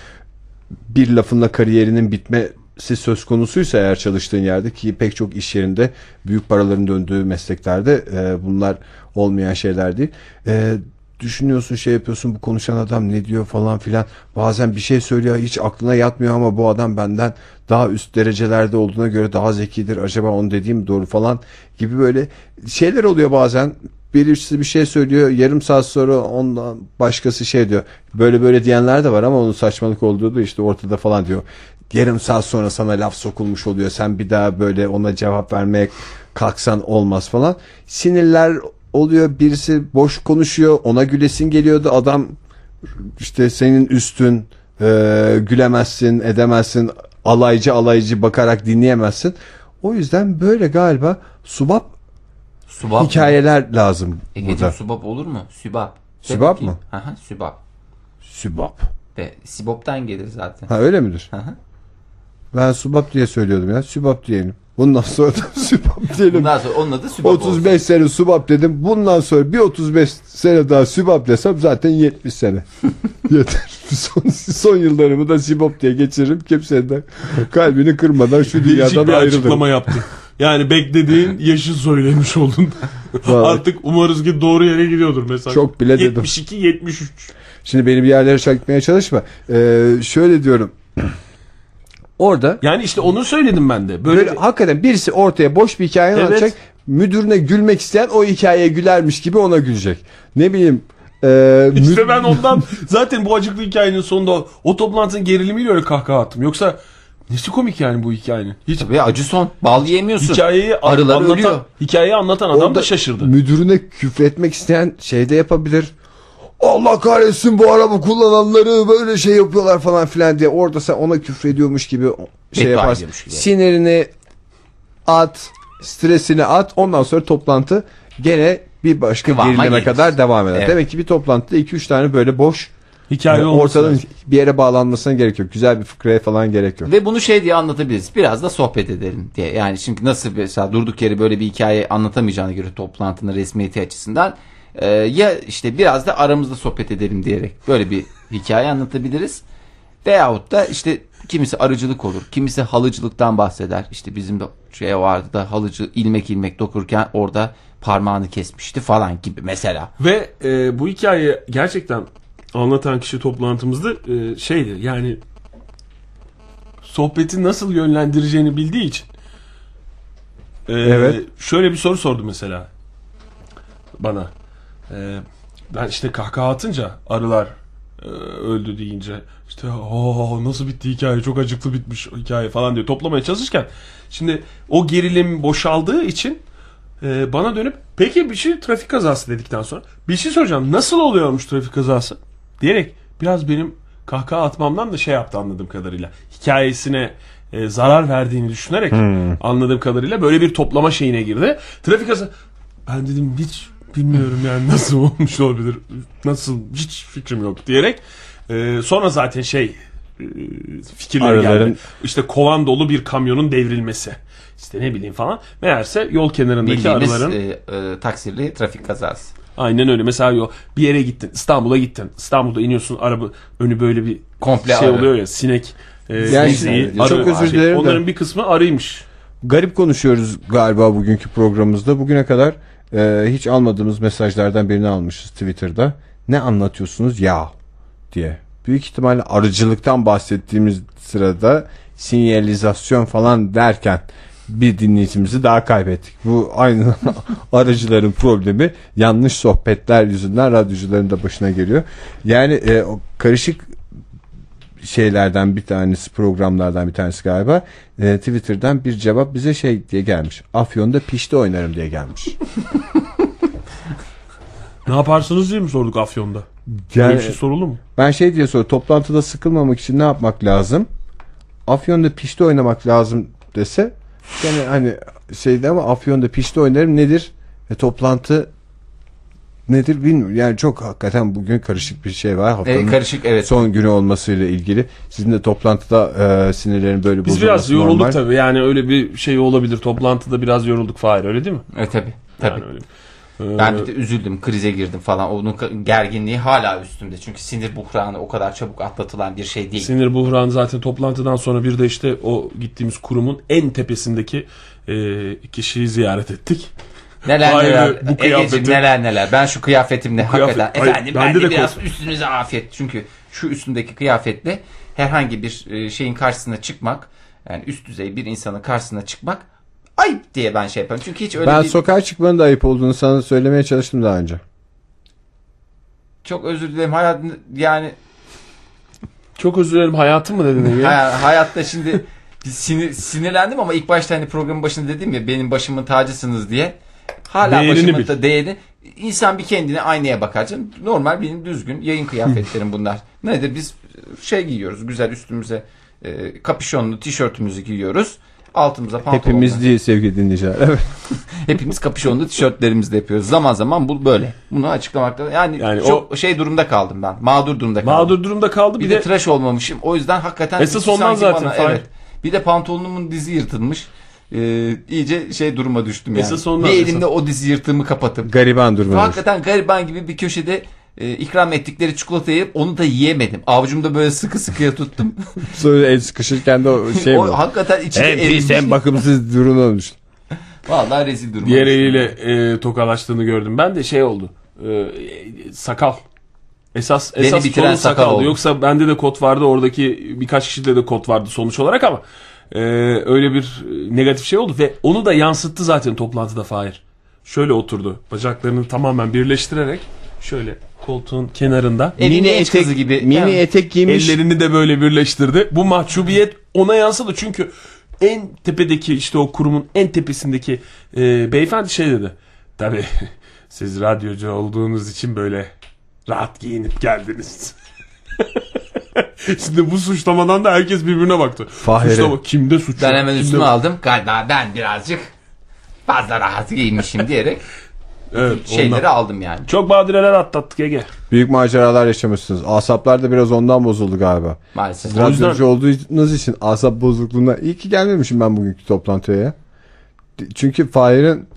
[SPEAKER 1] bir lafınla kariyerinin bitmesi söz konusuysa eğer çalıştığın yerde ki pek çok iş yerinde büyük paraların döndüğü mesleklerde e, bunlar olmayan şeyler değil. E, düşünüyorsun şey yapıyorsun bu konuşan adam ne diyor falan filan bazen bir şey söylüyor hiç aklına yatmıyor ama bu adam benden daha üst derecelerde olduğuna göre daha zekidir acaba onu dediğim doğru falan gibi böyle şeyler oluyor bazen birisi bir şey söylüyor yarım saat sonra ondan başkası şey diyor böyle böyle diyenler de var ama onun saçmalık olduğu da işte ortada falan diyor yarım saat sonra sana laf sokulmuş oluyor sen bir daha böyle ona cevap vermeye kalksan olmaz falan sinirler oluyor birisi boş konuşuyor ona gülesin geliyordu adam işte senin üstün e, gülemezsin edemezsin alaycı alaycı bakarak dinleyemezsin. O yüzden böyle galiba subap
[SPEAKER 3] Subap. mı? E,
[SPEAKER 1] hikayeler lazım
[SPEAKER 3] Egeciğim
[SPEAKER 1] burada.
[SPEAKER 3] subap olur mu? Sübap. De
[SPEAKER 1] Sübap
[SPEAKER 3] bakayım.
[SPEAKER 1] mı?
[SPEAKER 3] Aha, sübap.
[SPEAKER 1] Subap.
[SPEAKER 3] Ve siboptan gelir zaten.
[SPEAKER 1] Ha öyle midir?
[SPEAKER 3] Aha.
[SPEAKER 1] Ben subap diye söylüyordum ya. Sübap diyelim. Bundan sonra da sübap diyelim.
[SPEAKER 3] Bundan sonra onun adı sübap
[SPEAKER 1] 35
[SPEAKER 3] olsun.
[SPEAKER 1] sene subap dedim. Bundan sonra bir 35 sene daha sübap desem zaten 70 sene. Yeter. Son, son yıllarımı da sübap diye geçiririm. Kimsenin de kalbini kırmadan şu
[SPEAKER 2] Değişik
[SPEAKER 1] dünyadan
[SPEAKER 2] bir
[SPEAKER 1] ayrılırım.
[SPEAKER 2] açıklama yaptın. Yani beklediğin yaşı söylemiş oldun.
[SPEAKER 1] Vallahi.
[SPEAKER 2] Artık umarız ki doğru yere gidiyordur mesela.
[SPEAKER 1] Çok bile dedim.
[SPEAKER 2] 72 73.
[SPEAKER 1] Şimdi beni bir yerlere çakmaya çalışma. Ee, şöyle diyorum. Orada
[SPEAKER 2] Yani işte onu söyledim ben de. Böyle,
[SPEAKER 1] böyle hakikaten birisi ortaya boş bir hikaye
[SPEAKER 2] Evet.
[SPEAKER 1] anlatacak. Müdürüne gülmek isteyen o hikayeye gülermiş gibi ona gülecek. Ne bileyim. E, mü-
[SPEAKER 2] işte ben ondan zaten bu acıklı hikayenin sonunda o toplantının gerilimiyle öyle kahkaha attım. Yoksa nesi komik yani bu hikayenin? Hiç
[SPEAKER 3] Tabii acı son. Bal yiyemiyorsun.
[SPEAKER 2] hikayeyi a-
[SPEAKER 3] Arılar
[SPEAKER 2] anlatan,
[SPEAKER 3] ölüyor.
[SPEAKER 2] hikayeyi anlatan adam da şaşırdı.
[SPEAKER 1] Müdürüne küfretmek isteyen şey de yapabilir. Allah kahretsin bu araba kullananları böyle şey yapıyorlar falan filan diye. Orada sen ona küfrediyormuş gibi şey
[SPEAKER 3] Beddua
[SPEAKER 1] yaparsın.
[SPEAKER 3] ediyormuş gibi.
[SPEAKER 1] Sinirini at, stresini at. Ondan sonra toplantı gene bir başka
[SPEAKER 3] Kıvama
[SPEAKER 1] gerilime
[SPEAKER 3] gelir.
[SPEAKER 1] kadar devam eder.
[SPEAKER 3] Evet.
[SPEAKER 1] Demek ki bir toplantıda 2-3 tane böyle boş
[SPEAKER 2] Hikaye
[SPEAKER 1] yani
[SPEAKER 2] olması
[SPEAKER 1] ortadan
[SPEAKER 2] lazım.
[SPEAKER 1] bir yere bağlanmasına gerek yok. Güzel bir fıkraya falan gerek yok.
[SPEAKER 3] Ve bunu şey diye anlatabiliriz. Biraz da sohbet edelim diye. Yani çünkü nasıl mesela durduk yere böyle bir hikaye anlatamayacağına göre toplantının resmiyeti açısından e, ya işte biraz da aramızda sohbet edelim diyerek böyle bir hikaye anlatabiliriz. Veyahut da işte kimisi arıcılık olur, kimisi halıcılıktan bahseder. İşte bizim de şey vardı da halıcı ilmek ilmek dokurken orada parmağını kesmişti falan gibi mesela.
[SPEAKER 2] Ve e, bu hikayeyi gerçekten anlatan kişi toplantımızda e, şeydi yani sohbeti nasıl yönlendireceğini bildiği için. E,
[SPEAKER 1] Evet.
[SPEAKER 2] Şöyle bir soru sordu mesela bana. E, ben işte kahkaha atınca arılar e, öldü deyince işte "Aa, nasıl bitti hikaye çok acıklı bitmiş hikaye falan diyor toplamaya çalışırken şimdi o gerilim boşaldığı için ee, bana dönüp peki bir şey trafik kazası dedikten sonra bir şey soracağım nasıl oluyormuş trafik kazası diyerek biraz benim kahkaha atmamdan da şey yaptı anladığım kadarıyla hikayesine e, zarar verdiğini düşünerek anladığım kadarıyla böyle bir toplama şeyine girdi. Trafik kazası ben dedim hiç bilmiyorum yani nasıl olmuş olabilir nasıl hiç fikrim yok diyerek e, sonra zaten şey e, fikirleri
[SPEAKER 1] Araların-
[SPEAKER 2] geldi. İşte kovan dolu bir kamyonun devrilmesi. İşte ne bileyim falan. Meğerse yol kenarındaki
[SPEAKER 3] Bildiğimiz
[SPEAKER 2] arıların
[SPEAKER 3] e, e, taksirli trafik kazası.
[SPEAKER 2] aynen öyle. Mesela yol, bir yere gittin. İstanbul'a gittin. İstanbul'da iniyorsun araba önü böyle bir
[SPEAKER 3] Komple
[SPEAKER 2] şey
[SPEAKER 3] arı.
[SPEAKER 2] oluyor ya sinek e,
[SPEAKER 1] Yani
[SPEAKER 2] sineği,
[SPEAKER 3] çok
[SPEAKER 2] arı-
[SPEAKER 1] özür dilerim de.
[SPEAKER 2] Onların bir kısmı arıymış.
[SPEAKER 1] Garip konuşuyoruz galiba bugünkü programımızda. Bugüne kadar e, hiç almadığımız mesajlardan birini almışız Twitter'da. Ne anlatıyorsunuz ya diye. Büyük ihtimalle arıcılıktan bahsettiğimiz sırada sinyalizasyon falan derken bir dinleyicimizi daha kaybettik. Bu aynı arıcıların problemi yanlış sohbetler yüzünden radyocuların da başına geliyor. Yani e, o karışık şeylerden bir tanesi programlardan bir tanesi galiba e, Twitter'dan bir cevap bize şey diye gelmiş. Afyon'da pişti oynarım diye gelmiş.
[SPEAKER 2] Ne yaparsınız diye mi sorduk Afyon'da? Böyle
[SPEAKER 1] Yani
[SPEAKER 2] bir şey sorulur mu?
[SPEAKER 1] ben şey diye soruyorum toplantıda sıkılmamak için ne yapmak lazım? Afyon'da pişti oynamak lazım dese gene hani şeydi ama Afyon'da pişti oynarım nedir? E, toplantı nedir bilmiyorum. Yani çok hakikaten bugün karışık bir şey var.
[SPEAKER 3] E,
[SPEAKER 1] Haftanın
[SPEAKER 3] karışık evet.
[SPEAKER 1] son günü olmasıyla ilgili. Sizin de toplantıda e, sinirlerin böyle
[SPEAKER 2] Biz biraz
[SPEAKER 1] bozulması
[SPEAKER 2] yorulduk
[SPEAKER 1] normal.
[SPEAKER 2] tabii. Yani öyle bir şey olabilir. Toplantıda biraz yorulduk Fahir öyle değil mi?
[SPEAKER 3] E, tabii. Tabii.
[SPEAKER 2] Yani öyle. Ee,
[SPEAKER 3] Ben bir de üzüldüm, krize girdim falan. Onun ka- gerginliği hala üstümde. Çünkü sinir buhranı o kadar çabuk atlatılan bir şey değil.
[SPEAKER 2] Sinir buhranı zaten toplantıdan sonra bir de işte o gittiğimiz kurumun en tepesindeki e, kişiyi ziyaret ettik.
[SPEAKER 3] Neler
[SPEAKER 2] Vay be,
[SPEAKER 3] neler,
[SPEAKER 2] bu
[SPEAKER 3] Egeciğim
[SPEAKER 2] kıyafetin-
[SPEAKER 3] neler neler. Ben şu kıyafetimle
[SPEAKER 2] kıyafet-
[SPEAKER 3] hakikaten
[SPEAKER 2] Ay,
[SPEAKER 3] efendim ben
[SPEAKER 2] bende
[SPEAKER 3] de,
[SPEAKER 2] de
[SPEAKER 3] biraz üstünüze afiyet. Çünkü şu üstündeki kıyafetle herhangi bir e, şeyin karşısına çıkmak, yani üst düzey bir insanın karşısına çıkmak ayıp diye ben şey yapıyorum. Çünkü hiç öyle
[SPEAKER 1] Ben
[SPEAKER 3] bir...
[SPEAKER 1] sokağa çıkmanın da ayıp olduğunu sana söylemeye çalıştım daha önce.
[SPEAKER 3] Çok özür dilerim. Hayat, yani
[SPEAKER 2] Çok özür dilerim hayatım mı dedin ya?
[SPEAKER 3] Ha- hayatta şimdi bir sinir, sinirlendim ama ilk başta hani programın başında dedim ya benim başımın tacısınız diye. Hala
[SPEAKER 2] Değerini
[SPEAKER 3] başımın
[SPEAKER 2] bil.
[SPEAKER 3] da değerini İnsan bir kendine aynaya bakar canım. Normal benim düzgün yayın kıyafetlerim bunlar. Nedir biz şey giyiyoruz güzel üstümüze e, kapüşonlu tişörtümüzü giyiyoruz. Altımıza pantolonlar.
[SPEAKER 1] Hepimiz değil sevgili dinleyiciler. Evet.
[SPEAKER 3] Hepimiz kapüşonlu tişörtlerimizi de yapıyoruz. Zaman zaman bu böyle. Bunu açıklamakta yani,
[SPEAKER 2] Yani
[SPEAKER 3] çok şey durumda kaldım ben. Mağdur durumda kaldım.
[SPEAKER 2] Mağdur durumda kaldı.
[SPEAKER 3] bir, de, tıraş olmamışım. O yüzden hakikaten
[SPEAKER 2] Esas
[SPEAKER 3] sanki
[SPEAKER 2] ondan zaten, Fahir.
[SPEAKER 3] evet. Bir de pantolonumun dizi yırtılmış. Ee, iyice şey duruma düştüm yani.
[SPEAKER 2] Esas ondan,
[SPEAKER 3] bir
[SPEAKER 2] esas.
[SPEAKER 3] elimde o dizi yırtığımı kapatıp.
[SPEAKER 1] Gariban durmamış.
[SPEAKER 3] Hakikaten gariban gibi bir köşede e, ikram ettikleri çikolatayı yiyip onu da yiyemedim. Avucumda böyle sıkı sıkıya tuttum.
[SPEAKER 1] Sonra el sıkışırken de o şey
[SPEAKER 3] o
[SPEAKER 1] mi?
[SPEAKER 3] hakikaten içine
[SPEAKER 1] Hem pis
[SPEAKER 3] erimiş.
[SPEAKER 1] hem bakımsız durum olmuş.
[SPEAKER 3] Vallahi rezil duruma.
[SPEAKER 2] Diğer
[SPEAKER 3] düştüm.
[SPEAKER 2] eliyle e, tokalaştığını gördüm. Ben de şey oldu. e, e, sakal. Esas
[SPEAKER 3] Beni
[SPEAKER 2] esas
[SPEAKER 3] bitiren
[SPEAKER 2] sorun
[SPEAKER 3] sakal
[SPEAKER 2] sakaldı.
[SPEAKER 3] oldu.
[SPEAKER 2] Yoksa bende de kot vardı. Oradaki birkaç kişide de kot vardı sonuç olarak ama e, öyle bir e, negatif şey oldu ve onu da yansıttı zaten toplantıda Fahir. Şöyle oturdu. Bacaklarını tamamen birleştirerek şöyle koltuğun kenarında
[SPEAKER 3] Elini eş kızı gibi.
[SPEAKER 1] Mini
[SPEAKER 3] Yani-
[SPEAKER 1] etek giymiş.
[SPEAKER 2] Ellerini de böyle birleştirdi. Bu mahcubiyet ona yansıdı çünkü en tepedeki işte o kurumun en tepesindeki e, beyefendi şey dedi. Tabii siz radyocu olduğunuz için böyle rahat giyinip geldiniz. Şimdi bu suçlamadan da herkes birbirine baktı.
[SPEAKER 1] Fahire.
[SPEAKER 2] Suçlama kimde suçlu?
[SPEAKER 3] Ben hemen
[SPEAKER 2] Kimde-
[SPEAKER 3] üstüme aldım. Galiba ben birazcık fazla rahat giymişim diyerek
[SPEAKER 2] Evet,
[SPEAKER 3] şeyleri
[SPEAKER 2] ondan.
[SPEAKER 3] aldım yani.
[SPEAKER 2] Çok badireler atlattık Ege.
[SPEAKER 1] Büyük maceralar yaşamışsınız. Asaplar da biraz ondan bozuldu galiba.
[SPEAKER 3] Maalesef.
[SPEAKER 1] Radyocu olduğunuz için asap bozukluğuna iyi ki gelmemişim ben bugünkü toplantıya. ya. Çünkü Fahir'in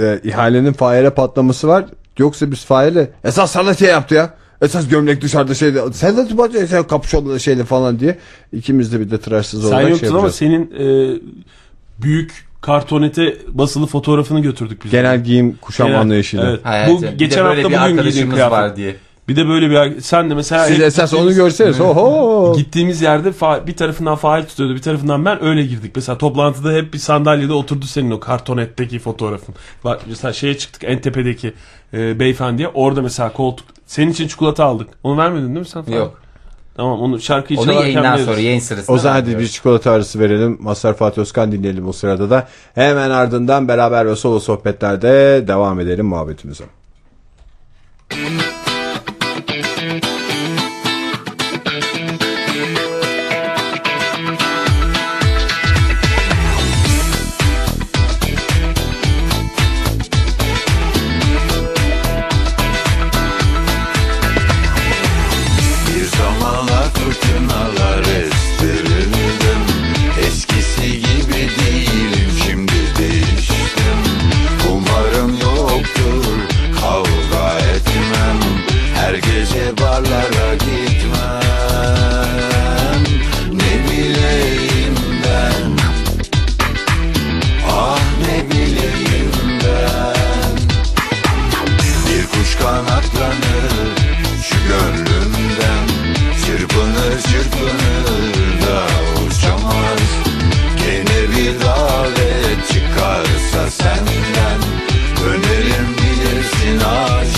[SPEAKER 1] e, ihalenin Fahir'e patlaması var. Yoksa biz Fahir'le esas sana şey yaptı ya. Esas gömlek dışarıda şeyde. Sen de bak- sen kapşonla şeyle falan diye. İkimiz de bir de tıraşsız
[SPEAKER 2] Sen
[SPEAKER 1] olarak şey
[SPEAKER 2] yoktun ama
[SPEAKER 1] yapacağız.
[SPEAKER 2] senin e, büyük kartonete basılı fotoğrafını götürdük biz.
[SPEAKER 1] Genel giyim kuşam
[SPEAKER 2] Genel-
[SPEAKER 1] anlayışıyla.
[SPEAKER 2] Evet.
[SPEAKER 3] Hayatım.
[SPEAKER 2] Bu
[SPEAKER 3] Bir de
[SPEAKER 2] geçen hafta
[SPEAKER 3] böyle bir
[SPEAKER 2] bugün giydiğim
[SPEAKER 3] arkadaşımız
[SPEAKER 2] kıyafet.
[SPEAKER 3] var diye.
[SPEAKER 2] Bir de böyle bir ar- sen de mesela
[SPEAKER 1] Siz
[SPEAKER 2] ilk
[SPEAKER 1] esas onu
[SPEAKER 2] gittiğimiz-
[SPEAKER 1] görseniz. Oho.
[SPEAKER 2] Gittiğimiz yerde fa- bir tarafından faal tutuyordu bir tarafından ben öyle girdik. Mesela toplantıda hep bir sandalyede oturdu senin o kartonetteki fotoğrafın. Bak mesela şeye çıktık en tepedeki e, beyefendiye orada mesela koltuk. Senin için çikolata aldık. Onu vermedin değil mi sen? Fahir?
[SPEAKER 3] Yok.
[SPEAKER 2] Tamam onu şarkıyı
[SPEAKER 3] Onu
[SPEAKER 2] çalarken
[SPEAKER 3] yayından
[SPEAKER 2] veririz.
[SPEAKER 3] sonra yayın sırasında.
[SPEAKER 1] O zaman hadi
[SPEAKER 3] vermiyorum.
[SPEAKER 1] bir çikolata arası verelim. Mazhar Fatih Özkan dinleyelim o sırada da. Hemen ardından beraber ve solo sohbetlerde devam edelim muhabbetimize.
[SPEAKER 4] Bir zamanlar fırtınalar estirildim Eskisi gibi değilim şimdi değiştim Umarım yoktur kavga etmem Her gece barlara gitmem Ne bileyim ben Ah ne bileyim ben bir kuş kanatlanır şu gönlümden Çırpınır çırpınır da uçamaz Gene bir davet çıkarsa senden Dönerim bilirsin aşığım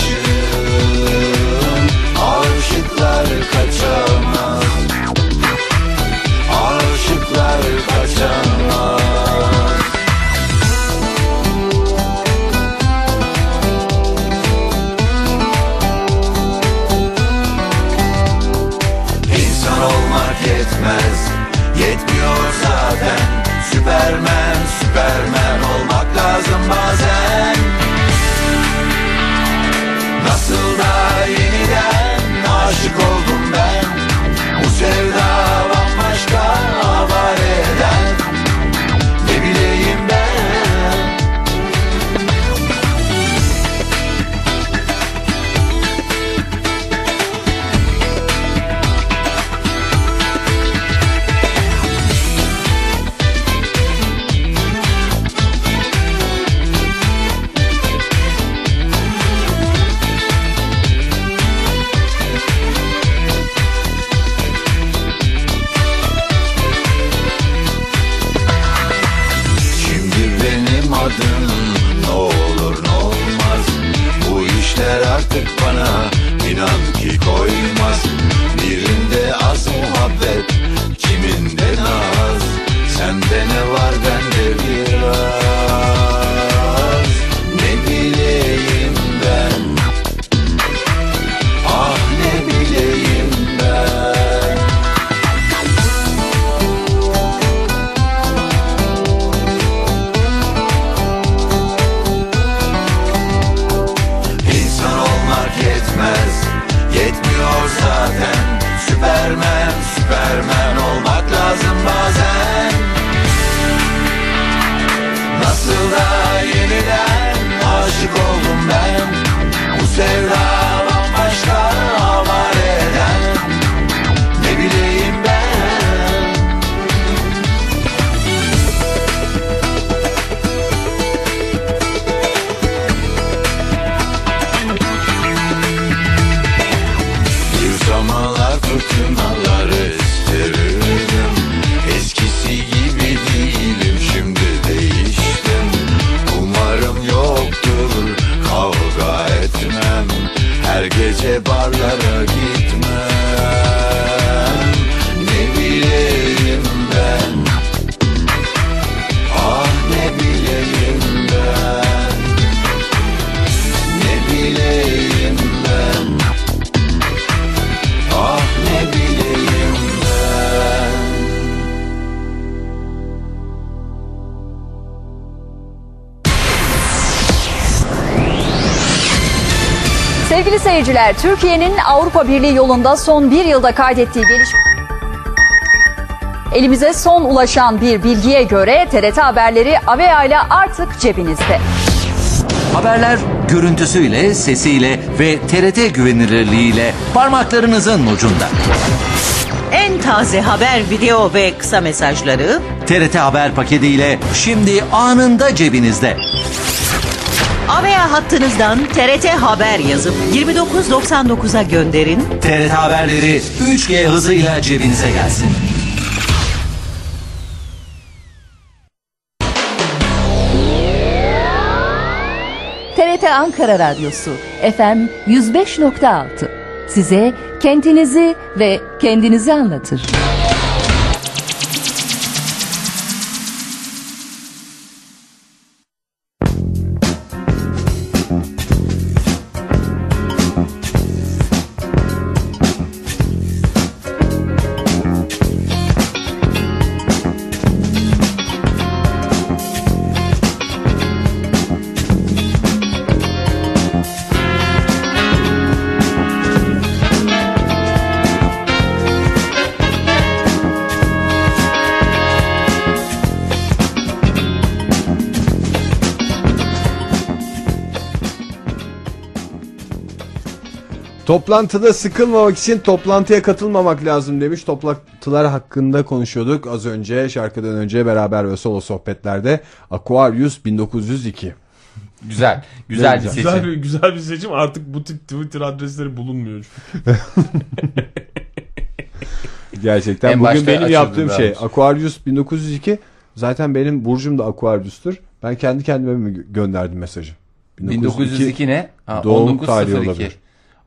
[SPEAKER 4] Aşıklar kaçamaz Aşıklar kaçamaz İnsan olmak yetmez Yetmiyor zaten Süpermen, süpermen olmak lazım bazen Nasıl da yeniden aşık oldum ben Bu sevda bambaşka avare eden Ne bileyim ben Şimdi benim adım ne olur ne olmaz Bu işler artık bana inan ki koymaz Birinde az muhabbet kiminde naz Sende ne var bende biraz Ne bileyim ben Ah, Sevda bambaşka avare eder Ne bileyim ben Bir zamanlar fırtınaları isterim Eskisi gibi değilim şimdi değiştim Umarım yoktur kavga etmem Her gece barlara gitmem Ne bileyim ben Ah ne bileyim ben Ne bileyim ben Ah ne bileyim ben
[SPEAKER 5] Sevgili seyirciler, Türkiye'nin Avrupa Birliği yolunda son bir yılda kaydettiği geliş... Elimize son ulaşan bir bilgiye göre TRT haberleri Avea ile artık cebinizde.
[SPEAKER 6] Haberler görüntüsüyle, sesiyle ve TRT güvenilirliğiyle parmaklarınızın ucunda.
[SPEAKER 7] En taze haber, video ve kısa mesajları
[SPEAKER 6] TRT Haber paketiyle şimdi anında cebinizde.
[SPEAKER 7] AVEA hattınızdan TRT Haber yazıp 29.99'a gönderin.
[SPEAKER 6] TRT Haberleri 3G hızıyla cebinize gelsin.
[SPEAKER 8] TRT Ankara Radyosu FM 105.6 size kentinizi ve kendinizi anlatır.
[SPEAKER 1] Toplantıda sıkılmamak için toplantıya katılmamak lazım demiş. Toplantılar hakkında konuşuyorduk az önce şarkıdan önce beraber ve solo sohbetlerde. Aquarius 1902.
[SPEAKER 3] Güzel. Güzel bir seçim.
[SPEAKER 2] Güzel bir, güzel bir seçim. Artık bu tip Twitter adresleri bulunmuyor.
[SPEAKER 1] Gerçekten
[SPEAKER 3] En
[SPEAKER 1] bugün
[SPEAKER 3] başta
[SPEAKER 1] benim
[SPEAKER 3] açıldı
[SPEAKER 1] yaptığım
[SPEAKER 3] daha
[SPEAKER 1] şey
[SPEAKER 3] önce.
[SPEAKER 1] Aquarius 1902. Zaten benim burcum da Aquarius'tur. Ben kendi kendime mi gö- gönderdim mesajı?
[SPEAKER 3] 1902 ne? Ha,
[SPEAKER 1] Doğum
[SPEAKER 3] 1902.
[SPEAKER 1] tarihi olabilir.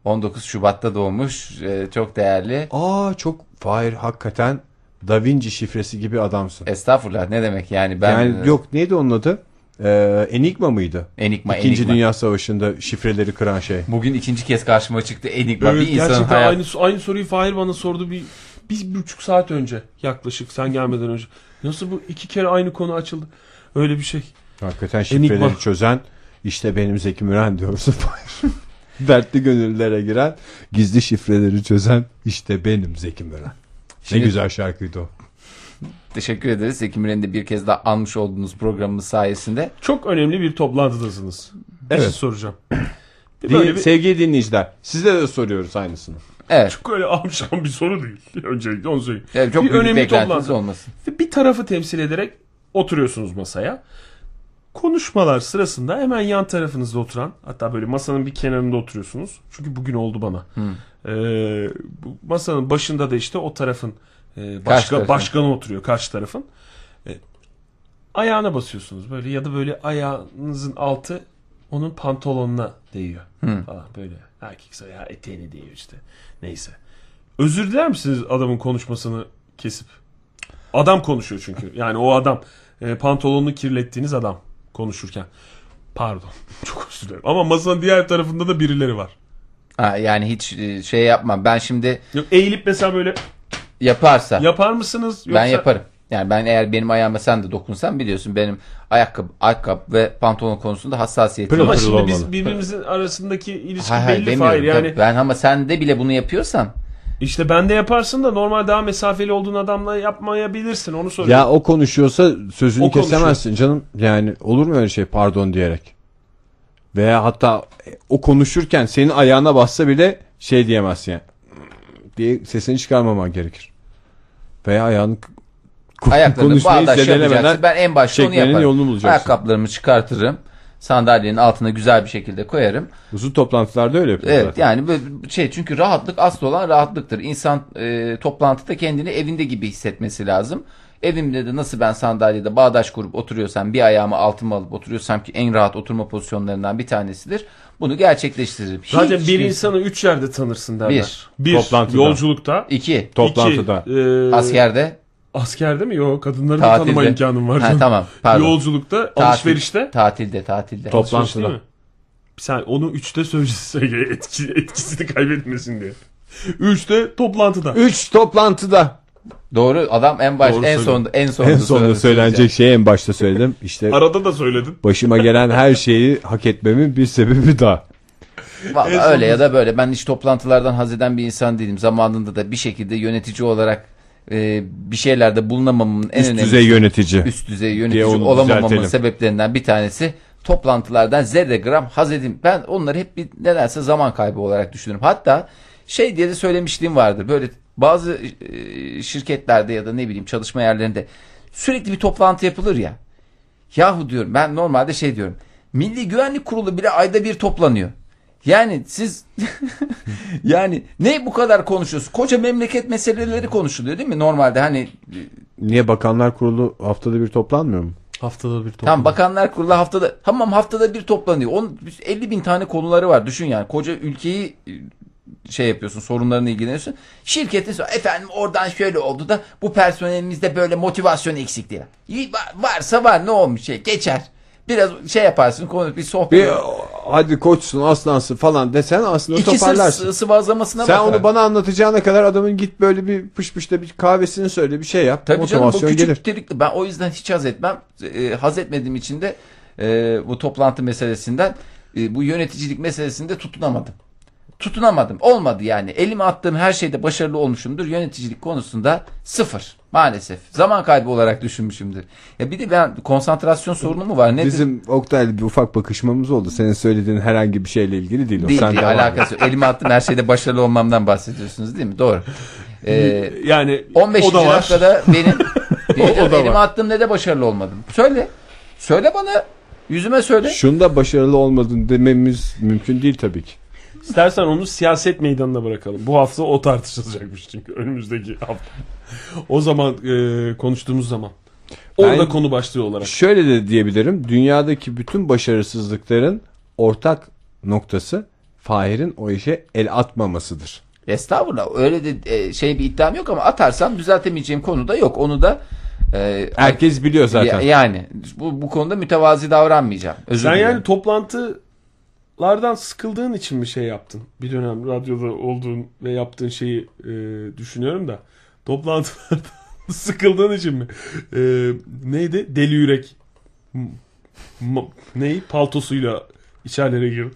[SPEAKER 3] 19 Şubat'ta doğmuş. Ee, çok değerli.
[SPEAKER 1] Aa çok Fahir hakikaten Da Vinci şifresi gibi adamsın.
[SPEAKER 3] Estağfurullah ne demek yani E, ben
[SPEAKER 1] yani yok neydi onun adı? Ee, Enigma mıydı?
[SPEAKER 3] Enigma,
[SPEAKER 1] İkinci
[SPEAKER 3] Enigma.
[SPEAKER 1] Dünya Savaşı'nda şifreleri kıran şey.
[SPEAKER 3] Bugün ikinci kez karşıma çıktı Enigma
[SPEAKER 2] Evet,
[SPEAKER 3] bir insanın
[SPEAKER 2] gerçekten
[SPEAKER 3] hayatı.
[SPEAKER 2] aynı, aynı soruyu Fahir bana sordu bir, bir buçuk saat önce yaklaşık sen gelmeden önce. Nasıl bu iki kere aynı konu açıldı? Öyle bir şey.
[SPEAKER 1] Hakikaten şifreleri
[SPEAKER 2] Enigma.
[SPEAKER 1] çözen işte benim Zeki Müren diyorsun. Dertli gönüllere giren, gizli şifreleri çözen işte benim Zeki Müren.
[SPEAKER 3] Şimdi-
[SPEAKER 1] Ne güzel şarkıydı o.
[SPEAKER 3] Teşekkür ederiz. Ekim de bir kez daha anmış olduğunuz programımız sayesinde.
[SPEAKER 2] Çok önemli bir toplantıdasınız. Bir şey
[SPEAKER 1] Evet.
[SPEAKER 2] soracağım. Bir
[SPEAKER 1] Din-
[SPEAKER 2] Böyle bir,
[SPEAKER 1] Sevgili dinleyiciler, size de soruyoruz aynısını.
[SPEAKER 3] Evet.
[SPEAKER 2] çok öyle amşan bir soru değil. Öncelikle onu söyleyeyim.
[SPEAKER 3] evet, çok
[SPEAKER 2] bir
[SPEAKER 3] büyük
[SPEAKER 2] önemli
[SPEAKER 3] beklentiniz
[SPEAKER 2] toplantı.
[SPEAKER 3] olmasın.
[SPEAKER 2] Ve bir tarafı temsil ederek oturuyorsunuz masaya. Konuşmalar sırasında hemen yan tarafınızda oturan hatta böyle masanın bir kenarında oturuyorsunuz. Çünkü bugün oldu bana. Ee, bu masanın başında da işte o tarafın e,
[SPEAKER 3] Karşı
[SPEAKER 2] başka,
[SPEAKER 3] tarafın.
[SPEAKER 2] başkanı oturuyor karşı tarafın. Ee, ayağına basıyorsunuz böyle ya da böyle ayağınızın altı onun pantolonuna değiyor falan böyle. Erkek ayağı eteğine değiyor işte. Neyse. Özür diler misiniz adamın konuşmasını kesip? Adam konuşuyor çünkü. Yani o adam e, pantolonunu kirlettiğiniz adam konuşurken. Pardon. Çok özür dilerim. Ama masanın diğer tarafında da birileri var.
[SPEAKER 3] Ha, yani hiç e, şey yapmam. Ben şimdi
[SPEAKER 2] Yok eğilip mesela böyle
[SPEAKER 3] yaparsa
[SPEAKER 2] yapar mısınız? Yoksa...
[SPEAKER 3] ben yaparım. Yani ben eğer benim ayağıma sen de dokunsan biliyorsun benim ayakkabı, ayakkabı ve pantolon konusunda hassasiyetim
[SPEAKER 1] Pırıl
[SPEAKER 2] Ama
[SPEAKER 3] var.
[SPEAKER 1] pırıl
[SPEAKER 2] şimdi biz
[SPEAKER 1] olmalı.
[SPEAKER 2] birbirimizin arasındaki ilişki
[SPEAKER 3] Hayır, hayır,
[SPEAKER 2] belli
[SPEAKER 3] demiyorum.
[SPEAKER 2] Fahir. Yani
[SPEAKER 3] Ben ama sen de bile bunu yapıyorsan
[SPEAKER 2] işte ben de yaparsın da normal daha mesafeli olduğun adamla yapmayabilirsin. Onu soruyorum.
[SPEAKER 1] Ya o konuşuyorsa sözünü
[SPEAKER 2] O konuşuyor.
[SPEAKER 1] kesemezsin canım. Yani olur mu öyle şey pardon diyerek? Veya hatta o konuşurken senin ayağına bassa bile şey diyemezsin yani. diye sesini çıkarmaman gerekir. Veya ayağını k-
[SPEAKER 3] Ayaklarını
[SPEAKER 1] konuşmayı
[SPEAKER 3] bağdaş
[SPEAKER 1] zedelemeden
[SPEAKER 3] yapacaksın. Ben en başta onu
[SPEAKER 1] çekmenin
[SPEAKER 3] yaparım.
[SPEAKER 1] yolunu bulacaksın.
[SPEAKER 3] Ayakkabılarımı çıkartırım. Sandalyenin altına güzel bir şekilde koyarım.
[SPEAKER 1] uzun toplantılarda öyle yapıyor
[SPEAKER 3] Evet
[SPEAKER 1] zaten.
[SPEAKER 3] yani böyle şey çünkü rahatlık asıl olan rahatlıktır. İnsan e, toplantıda kendini evinde gibi hissetmesi lazım. Evimde de nasıl ben sandalyede bağdaş kurup oturuyorsam bir ayağımı altıma alıp oturuyorsam ki en rahat oturma pozisyonlarından bir tanesidir. Bunu gerçekleştiririm.
[SPEAKER 2] Zaten
[SPEAKER 3] Hiç-
[SPEAKER 2] bir insanı üç yerde tanırsın derler.
[SPEAKER 3] Bir.
[SPEAKER 2] Bir,
[SPEAKER 1] Toplantıda.
[SPEAKER 2] yolculukta.
[SPEAKER 3] iki
[SPEAKER 1] Toplantıda.
[SPEAKER 2] İki, e,
[SPEAKER 3] askerde
[SPEAKER 2] Askerde mi? Yok kadınları da
[SPEAKER 3] tatilde.
[SPEAKER 2] tanıma imkanım var.
[SPEAKER 3] Ha,
[SPEAKER 2] canım.
[SPEAKER 3] tamam pardon.
[SPEAKER 2] Yolculukta,
[SPEAKER 3] Tatil-
[SPEAKER 2] alışverişte.
[SPEAKER 3] Tatilde tatilde.
[SPEAKER 2] Alışveriş değil
[SPEAKER 1] Toplantıda.
[SPEAKER 2] mi? Sen onu üçte söyle etki, etkisini kaybetmesin diye. Üçte toplantıda.
[SPEAKER 1] 3 toplantıda.
[SPEAKER 3] Doğru adam en baş
[SPEAKER 2] Doğru
[SPEAKER 3] en
[SPEAKER 2] söylüyor.
[SPEAKER 3] sonunda en sonunda,
[SPEAKER 1] En sonunda
[SPEAKER 3] söyleyecek.
[SPEAKER 1] söylenecek şeyi en başta söyledim. İşte
[SPEAKER 2] Arada da söyledin.
[SPEAKER 1] başıma gelen her şeyi hak etmemin bir sebebi daha.
[SPEAKER 3] Vallahi
[SPEAKER 2] En
[SPEAKER 3] öyle ya da böyle. Ben hiç toplantılardan haz eden bir insan değilim. Zamanında da bir şekilde yönetici olarak e, bir şeylerde bulunamamın en
[SPEAKER 1] Üst
[SPEAKER 3] önemli
[SPEAKER 1] düzey yönetici.
[SPEAKER 3] üst düzey yönetici
[SPEAKER 1] onu
[SPEAKER 3] olamamamın
[SPEAKER 1] düzeltelim.
[SPEAKER 3] sebeplerinden bir tanesi toplantılardan zerre gram haz edin. Ben onları hep bir nedense zaman kaybı olarak düşünürüm. Hatta şey diye de söylemişliğim vardır. Böyle bazı e, şirketlerde ya da ne bileyim çalışma yerlerinde sürekli bir toplantı yapılır ya. Yahu diyorum ben normalde şey diyorum. Milli Güvenlik Kurulu bile ayda bir toplanıyor. Yani siz yani ne bu kadar konuşuyorsunuz? Koca memleket meseleleri konuşuluyor değil mi? Normalde hani
[SPEAKER 1] Niye Bakanlar Kurulu haftada bir toplanmıyor mu?
[SPEAKER 2] Haftada bir toplantı.
[SPEAKER 3] Tamam bakanlar kurulu haftada tamam haftada bir toplanıyor. On, 50 bin tane konuları var düşün yani koca ülkeyi e, şey yapıyorsun sorunlarına ilgileniyorsun. Şirketin so- efendim oradan şöyle oldu da bu personelimizde böyle motivasyon eksikliği. var. İyi, va- Varsa var ne olmuş şey geçer. Biraz şey yaparsın konu bir sohbet.
[SPEAKER 1] Bir o, hadi koçsun aslansın falan desen aslında
[SPEAKER 3] İki sır
[SPEAKER 1] toparlarsın.
[SPEAKER 3] sı- sıvazlamasına
[SPEAKER 1] Sen
[SPEAKER 3] bakar.
[SPEAKER 1] onu bana anlatacağına kadar adamın git böyle bir pış pışta bir kahvesini söyle bir şey yap.
[SPEAKER 3] Tabii canım bu
[SPEAKER 1] Motivasyon
[SPEAKER 3] küçük
[SPEAKER 1] gelir.
[SPEAKER 3] telikli. Ben o yüzden hiç haz etmem. E, haz etmediğim için de e, bu toplantı meselesinden e, bu yöneticilik meselesinde tutunamadım. Tutunamadım. Olmadı yani. Elime attığım her şeyde başarılı olmuşumdur. Yöneticilik konusunda sıfır. Maalesef. Zaman kaybı olarak düşünmüşümdür. Ya bir de ben konsantrasyon sorunu mu var? Nedir?
[SPEAKER 1] Bizim Oktay'la bir ufak bakışmamız oldu. Senin söylediğin herhangi bir şeyle ilgili değil. o.
[SPEAKER 3] değil,
[SPEAKER 1] Sen
[SPEAKER 3] değil,
[SPEAKER 1] devam et.
[SPEAKER 3] alakası yok. Elime attığım her şeyde başarılı olmamdan bahsediyorsunuz değil mi? Doğru. Ee,
[SPEAKER 2] Yani
[SPEAKER 3] 15.
[SPEAKER 2] o da var.
[SPEAKER 3] dakikada benim
[SPEAKER 2] O da
[SPEAKER 3] elime
[SPEAKER 2] var.
[SPEAKER 3] attığım ne de başarılı olmadım. Söyle. Söyle bana. Yüzüme söyle.
[SPEAKER 1] Şunda başarılı olmadın dememiz mümkün değil tabii ki.
[SPEAKER 2] İstersen onu siyaset meydanına bırakalım. Bu hafta o tartışılacakmış çünkü önümüzdeki hafta. O zaman e, konuştuğumuz zaman. Orada
[SPEAKER 1] Ben-
[SPEAKER 2] konu başlığı olarak.
[SPEAKER 1] Şöyle de diyebilirim. Dünyadaki bütün başarısızlıkların ortak noktası Fahir'in o işe el atmamasıdır.
[SPEAKER 3] Estağfurullah. Öyle de e, şey bir iddiam yok ama atarsam düzeltemeyeceğim konu da yok. Onu da e,
[SPEAKER 1] Herkes biliyor zaten.
[SPEAKER 3] ya- yani bu, bu konuda mütevazi davranmayacağım. Özür
[SPEAKER 2] Sen
[SPEAKER 3] dilerim.
[SPEAKER 2] yani toplantılardan sıkıldığın için mi şey yaptın? Bir dönem radyoda olduğun ve yaptığın şeyi e, düşünüyorum da. Toplantılardan sıkıldığın için mi? E, neydi? Deli yürek. M- ma- neyi? Paltosuyla içerilere girdi.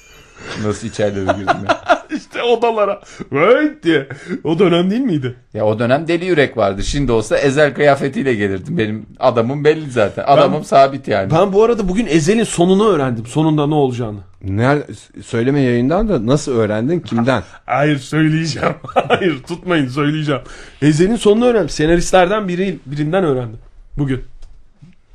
[SPEAKER 3] nasıl içeride girdim ya?
[SPEAKER 2] İşte odalara. Vay diye. O dönem değil miydi?
[SPEAKER 3] Ya o dönem deli yürek vardı. Şimdi olsa ezel kıyafetiyle gelirdim. Benim adamım belli zaten. Adamım sabit yani.
[SPEAKER 2] Ben bu arada bugün Ezel'in sonunu öğrendim. Sonunda ne olacağını.
[SPEAKER 1] Nerede, söyleme yayından da nasıl öğrendin kimden?
[SPEAKER 2] Hayır söyleyeceğim. Hayır tutmayın söyleyeceğim. Ezel'in sonunu öğrendim. Senaristlerden biri, birinden öğrendim. Bugün.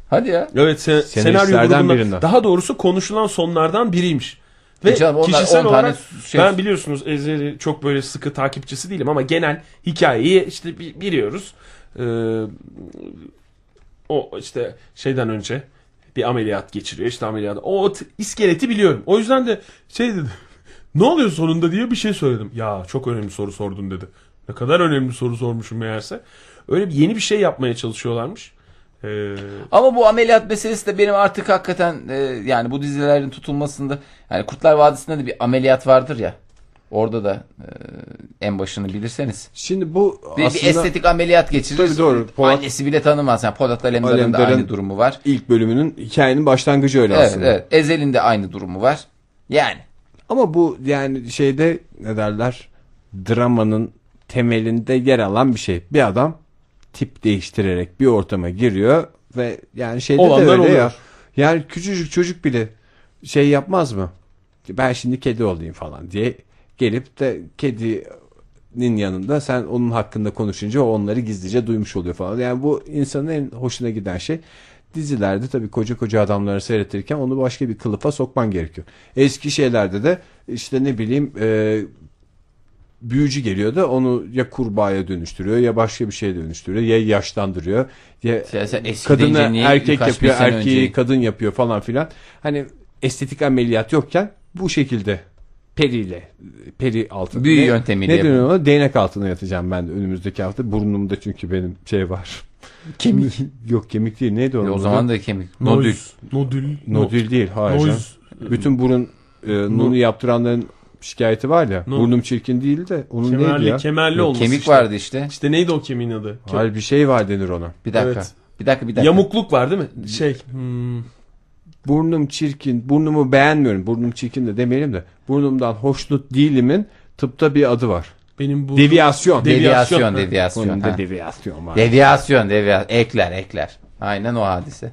[SPEAKER 3] Hadi ya.
[SPEAKER 2] Evet se-
[SPEAKER 1] Senaristlerden
[SPEAKER 2] senaryo grubundan.
[SPEAKER 1] birinden.
[SPEAKER 2] Daha doğrusu konuşulan sonlardan biriymiş. Ve
[SPEAKER 3] E canım, onlar
[SPEAKER 2] kişisel
[SPEAKER 3] 10 tane
[SPEAKER 2] olarak
[SPEAKER 3] şey-
[SPEAKER 2] ben biliyorsunuz Ezel'i çok böyle sıkı takipçisi değilim ama genel hikayeyi işte bi- biliyoruz. Ee, o işte şeyden önce bir ameliyat geçiriyor işte ameliyat. O t- iskeleti biliyorum. O yüzden de şey dedim. Ne oluyor sonunda diye bir şey söyledim. Ya çok önemli soru sordun dedi. Ne kadar önemli soru sormuşum meğerse. Öyle bir yeni bir şey yapmaya çalışıyorlarmış. Ee,
[SPEAKER 3] Ama bu ameliyat meselesi de benim artık hakikaten e, yani bu dizilerin tutulmasında yani Kurtlar Vadisi'nde de bir ameliyat vardır ya. Orada da e, en başını bilirseniz.
[SPEAKER 1] Şimdi bu
[SPEAKER 3] Bir, bir
[SPEAKER 1] aslında
[SPEAKER 3] estetik ameliyat geçirir.
[SPEAKER 1] Tabii doğru. Polat-
[SPEAKER 3] Annesi bile tanımaz. Yani Polat Alemdar'ın da
[SPEAKER 1] Alemdar'ın-
[SPEAKER 3] aynı durumu var.
[SPEAKER 1] ilk bölümünün hikayenin başlangıcı öyle
[SPEAKER 3] Evet,
[SPEAKER 1] aslında.
[SPEAKER 3] evet. Ezel'in de aynı durumu var. Yani
[SPEAKER 1] Ama bu yani şeyde ne derler dramanın temelinde yer alan bir şey. Bir adam tip değiştirerek bir ortama giriyor ve yani şeyde
[SPEAKER 2] Olanlar
[SPEAKER 1] de öyle ya.
[SPEAKER 2] oluyor.
[SPEAKER 1] Yani küçücük çocuk bile şey yapmaz mı? Ben şimdi kedi olayım falan diye gelip de kedinin yanında sen onun hakkında konuşunca o onları gizlice duymuş oluyor falan. Yani bu insanın en hoşuna giden şey dizilerde tabii koca koca adamları seyretirken onu başka bir kılıfa sokman gerekiyor. Eski şeylerde de işte ne bileyim e, büyücü geliyor da onu ya kurbağaya dönüştürüyor ya başka bir şeye dönüştürüyor ya yaşlandırıyor ya
[SPEAKER 3] Sen- sen eski deyince
[SPEAKER 1] kadını
[SPEAKER 3] niye
[SPEAKER 1] erkek
[SPEAKER 3] birkaç
[SPEAKER 1] yapıyor
[SPEAKER 3] bin sene
[SPEAKER 1] erkeği
[SPEAKER 3] önceyi-
[SPEAKER 1] kadın yapıyor falan filan. Hani estetik ameliyat yokken bu şekilde periyle peri altında.
[SPEAKER 3] Büyü
[SPEAKER 1] Ne-
[SPEAKER 3] yöntemiyle
[SPEAKER 1] Ne deniyor ona? Değnek altına yatacağım ben de önümüzdeki hafta. Burnumda çünkü benim şey var. Kemik. Yok kemik değil. Neydi onun?
[SPEAKER 3] O
[SPEAKER 1] adı?
[SPEAKER 3] zaman da kemik. Nodül.
[SPEAKER 2] Nodül. Nodül.
[SPEAKER 1] Nodül değil. Hayır.
[SPEAKER 2] Noise.
[SPEAKER 1] canım. Bütün burun e, nunu yaptıranların şikayeti var ya.
[SPEAKER 2] No-
[SPEAKER 1] Burnum çirkin değil de onun neydi
[SPEAKER 2] Kemerli,
[SPEAKER 1] ya?
[SPEAKER 2] kemerli olmuş.
[SPEAKER 3] Kemik
[SPEAKER 2] işte.
[SPEAKER 3] vardı işte.
[SPEAKER 2] İşte neydi o kemiğin adı? Ke-
[SPEAKER 1] Hayır bir şey var denir ona.
[SPEAKER 3] Bir dakika.
[SPEAKER 2] Evet.
[SPEAKER 3] Bir dakika bir dakika.
[SPEAKER 2] Yamukluk var değil mi? Şey. hmm,
[SPEAKER 1] burnum çirkin, burnumu beğenmiyorum. Burnum çirkin de demeyelim de. Burnumdan hoşnut değilimin tıpta bir adı var.
[SPEAKER 2] benim bu
[SPEAKER 1] Deviyasyon.
[SPEAKER 2] Devi-
[SPEAKER 3] Deviyasyon,
[SPEAKER 2] Deviyasyon.
[SPEAKER 3] deviyasyon.
[SPEAKER 1] Burnumda
[SPEAKER 3] ha.
[SPEAKER 1] deviyasyon var.
[SPEAKER 3] Deviyasyon, deviyasyon. Ekler, ekler. Aynen o hadise.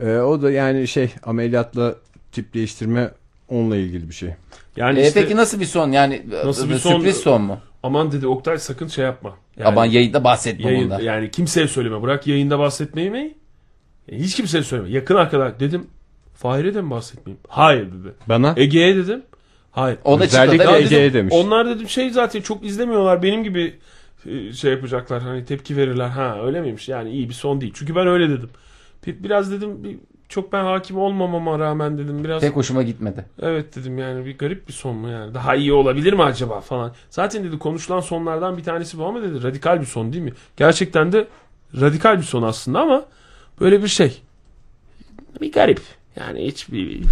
[SPEAKER 1] Ee, o da yani şey ameliyatla tip değiştirme onunla ilgili bir şey.
[SPEAKER 2] yani
[SPEAKER 3] E,
[SPEAKER 2] işte
[SPEAKER 3] peki nasıl bir son? Yani
[SPEAKER 2] Nasıl
[SPEAKER 3] nasıl
[SPEAKER 2] bir son?
[SPEAKER 3] sürpriz son mu?
[SPEAKER 2] aman dedi Oktay sakın şey yapma. Yani,
[SPEAKER 3] Aman yayında bahsetme
[SPEAKER 2] yayın-
[SPEAKER 3] bundan.
[SPEAKER 2] yani kimseye söyleme. Bırak yayında bahsetmeyi mi? E, Hiç kimseye söyleme. Yakın arkadaş dedim. Fahir'e de mi bahsetmeyeyim? Hayır dedi.
[SPEAKER 1] Bana
[SPEAKER 2] Ege'ye dedim. Hayır.
[SPEAKER 3] O da
[SPEAKER 1] Özellikle
[SPEAKER 3] çıktı.
[SPEAKER 2] Ya
[SPEAKER 3] da-
[SPEAKER 1] Ege- Ege'ye demiş.
[SPEAKER 2] Onlar dedim şey zaten çok izlemiyorlar benim gibi e, şey yapacaklar hani tepki verirler ha öyle miymiş yani iyi bir son değil çünkü ben öyle dedim Bir- biraz dedim bir- çok ben hakim olmamama rağmen dedim biraz
[SPEAKER 3] Pek hoşuma gitmedi.
[SPEAKER 2] evet dedim yani bir garip bir son mu yani daha iyi olabilir mi acaba falan zaten dedi konuşulan sonlardan bir tanesi bu ama dedi radikal bir son değil mi gerçekten de radikal bir son aslında ama böyle bir şey bir garip yani hiçbir